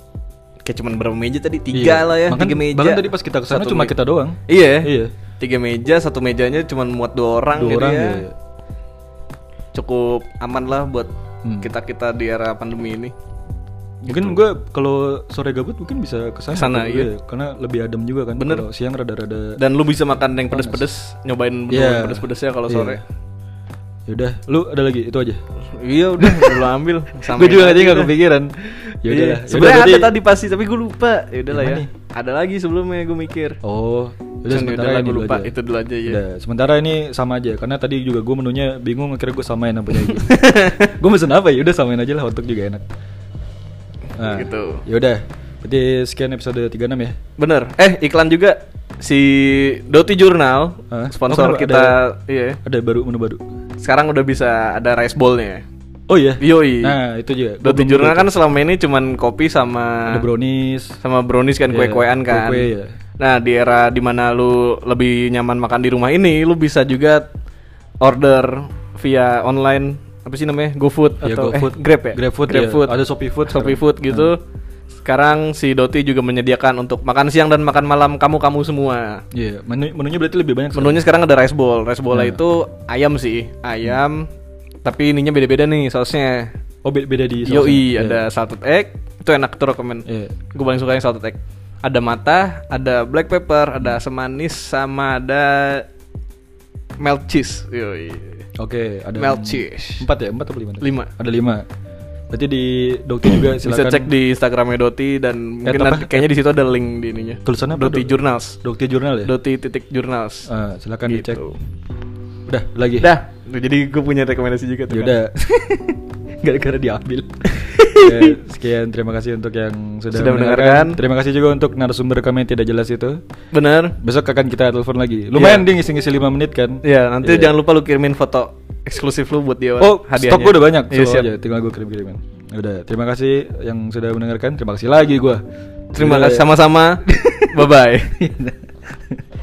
A: kayak cuman berapa meja tadi? Tiga
B: Iya.
A: lah ya,
B: Bahkan-
A: tiga meja.
B: Bahkan tadi pas kita kesana
A: Satu
B: cuma
A: me-
B: kita doang.
A: Iya.
B: Iya.
A: Tiga meja, satu mejanya cuman muat dua orang
B: Dua
A: jadi
B: orang
A: ya.
B: ya.
A: Cukup aman lah buat
B: Hmm.
A: kita-kita di era pandemi ini.
B: Mungkin gue kalau sore gabut mungkin bisa kesana.
A: Kesana,
B: gitu,
A: Gitu. iya.
B: Karena lebih adem juga kan.
A: Bener.
B: Kalau siang rada-rada.
A: Dan lu bisa makan yang pedes-pedes, nyobain menu
B: Iya.
A: pedes-pedesnya kalau
B: Iya.
A: sore.
B: Yaudah, lu ada lagi itu aja.
A: Iya udah, lu ambil.
B: Gue juga
A: aja
B: tadi nggak kepikiran.
A: Iya.
B: Yaudah Ya lah.
A: Sebenarnya
B: Yaudah,
A: ada
B: berarti-
A: tadi pasti tapi gue lupa. Ya udahlah
B: Yang
A: ya.
B: mana
A: Ada lagi sebelumnya gue mikir.
B: Oh, udah
A: Cuman
B: sementara
A: yaudahlah,
B: ini
A: gua
B: dulu
A: lupa.
B: aja.
A: Itu dulu aja ya.
B: Udah, sementara ini sama aja karena tadi juga gue menunya bingung akhirnya gue samain apa aja. gue pesen apa ya? Udah samain aja lah untuk juga enak. Nah,
A: Gitu.
B: Ya udah. Berarti sekian episode 36 ya.
A: Bener. Eh iklan juga si Doti Jurnal
B: Hah?
A: sponsor
B: Oh, kenapa?
A: kita.
B: Ada-
A: Iya.
B: Ada baru menu baru.
A: Sekarang udah bisa ada rice ballnya.
B: Oh iya.
A: Yoi.
B: Nah, itu juga. Gua
A: Doti
B: belum
A: Jurnal
B: coba
A: kan selama ini cuman kopi
B: itu.
A: sama
B: ada brownies.
A: sama brownies kan
B: Iya,
A: kue-kuean kan.
B: kue-kue, iya.
A: Nah, di era dimana lu lebih nyaman makan di rumah ini, lu bisa juga order via online apa sih namanya? GoFood
B: Iya,
A: atau
B: GoFood.
A: eh, Grab ya?
B: GrabFood, iya. Ada Shopee Food
A: Shopee
B: sekarang. Hmm.
A: Food gitu. Sekarang si Doti juga menyediakan untuk makan siang dan makan malam kamu-kamu semua.
B: Iya, menu- menunya berarti lebih banyak. sekarang.
A: Menunya sekarang ada rice bowl. Rice bowl
B: Iya.
A: itu ayam sih, ayam. Tapi ininya beda-beda nih sausnya.
B: Oh, be- beda di sausnya.
A: Yoi,
B: Iya.
A: ada salted egg. Itu enak tuh rekomend
B: Iya.
A: gue paling suka yang salted egg ada mata ada black pepper ada asam manis sama ada melt cheese Yoi.
B: Oke, ada
A: melt cheese
B: Empat ya, empat atau lima?
A: Lima.
B: Ada lima. ya? Berarti di dokter juga
A: bisa
B: silakan. Eh,
A: cek di instagramnya Doti dan mungkin
B: apa?
A: nanti- kayaknya di situ ada link di ininya
B: Tulisannya apa,
A: Doti
B: Dok?
A: Journals
B: Dokter jurnal ya.
A: Doti titik Journals
B: Ah, silakan dicek. Iya.
A: Gitu.
B: Udah, lagi. Ya
A: dah jadi gue punya rekomendasi juga tuh kan.
B: Yaudah. Gara-gara diambil. Ya, sekian terima kasih untuk yang sudah,
A: Sudah mendengarkan.
B: Terima kasih juga untuk narasumber kami yang tidak jelas itu.
A: bener
B: Besok akan kita telepon lagi. Lumayan ding ngisi-ngisi 5 menit kan.
A: ya Iya. nanti
B: Iya.
A: jangan lupa lu kirimin foto eksklusif lu buat dia
B: Oh,
A: hadiahnya.
B: stok gue udah banyak.
A: Iya,
B: Selalu
A: siap.
B: aja, tinggal gue kirim-kirimin. Ya Udah, terima kasih yang sudah ya. mendengarkan. Terima kasih lagi gue.
A: terima kasih sama-sama bye bye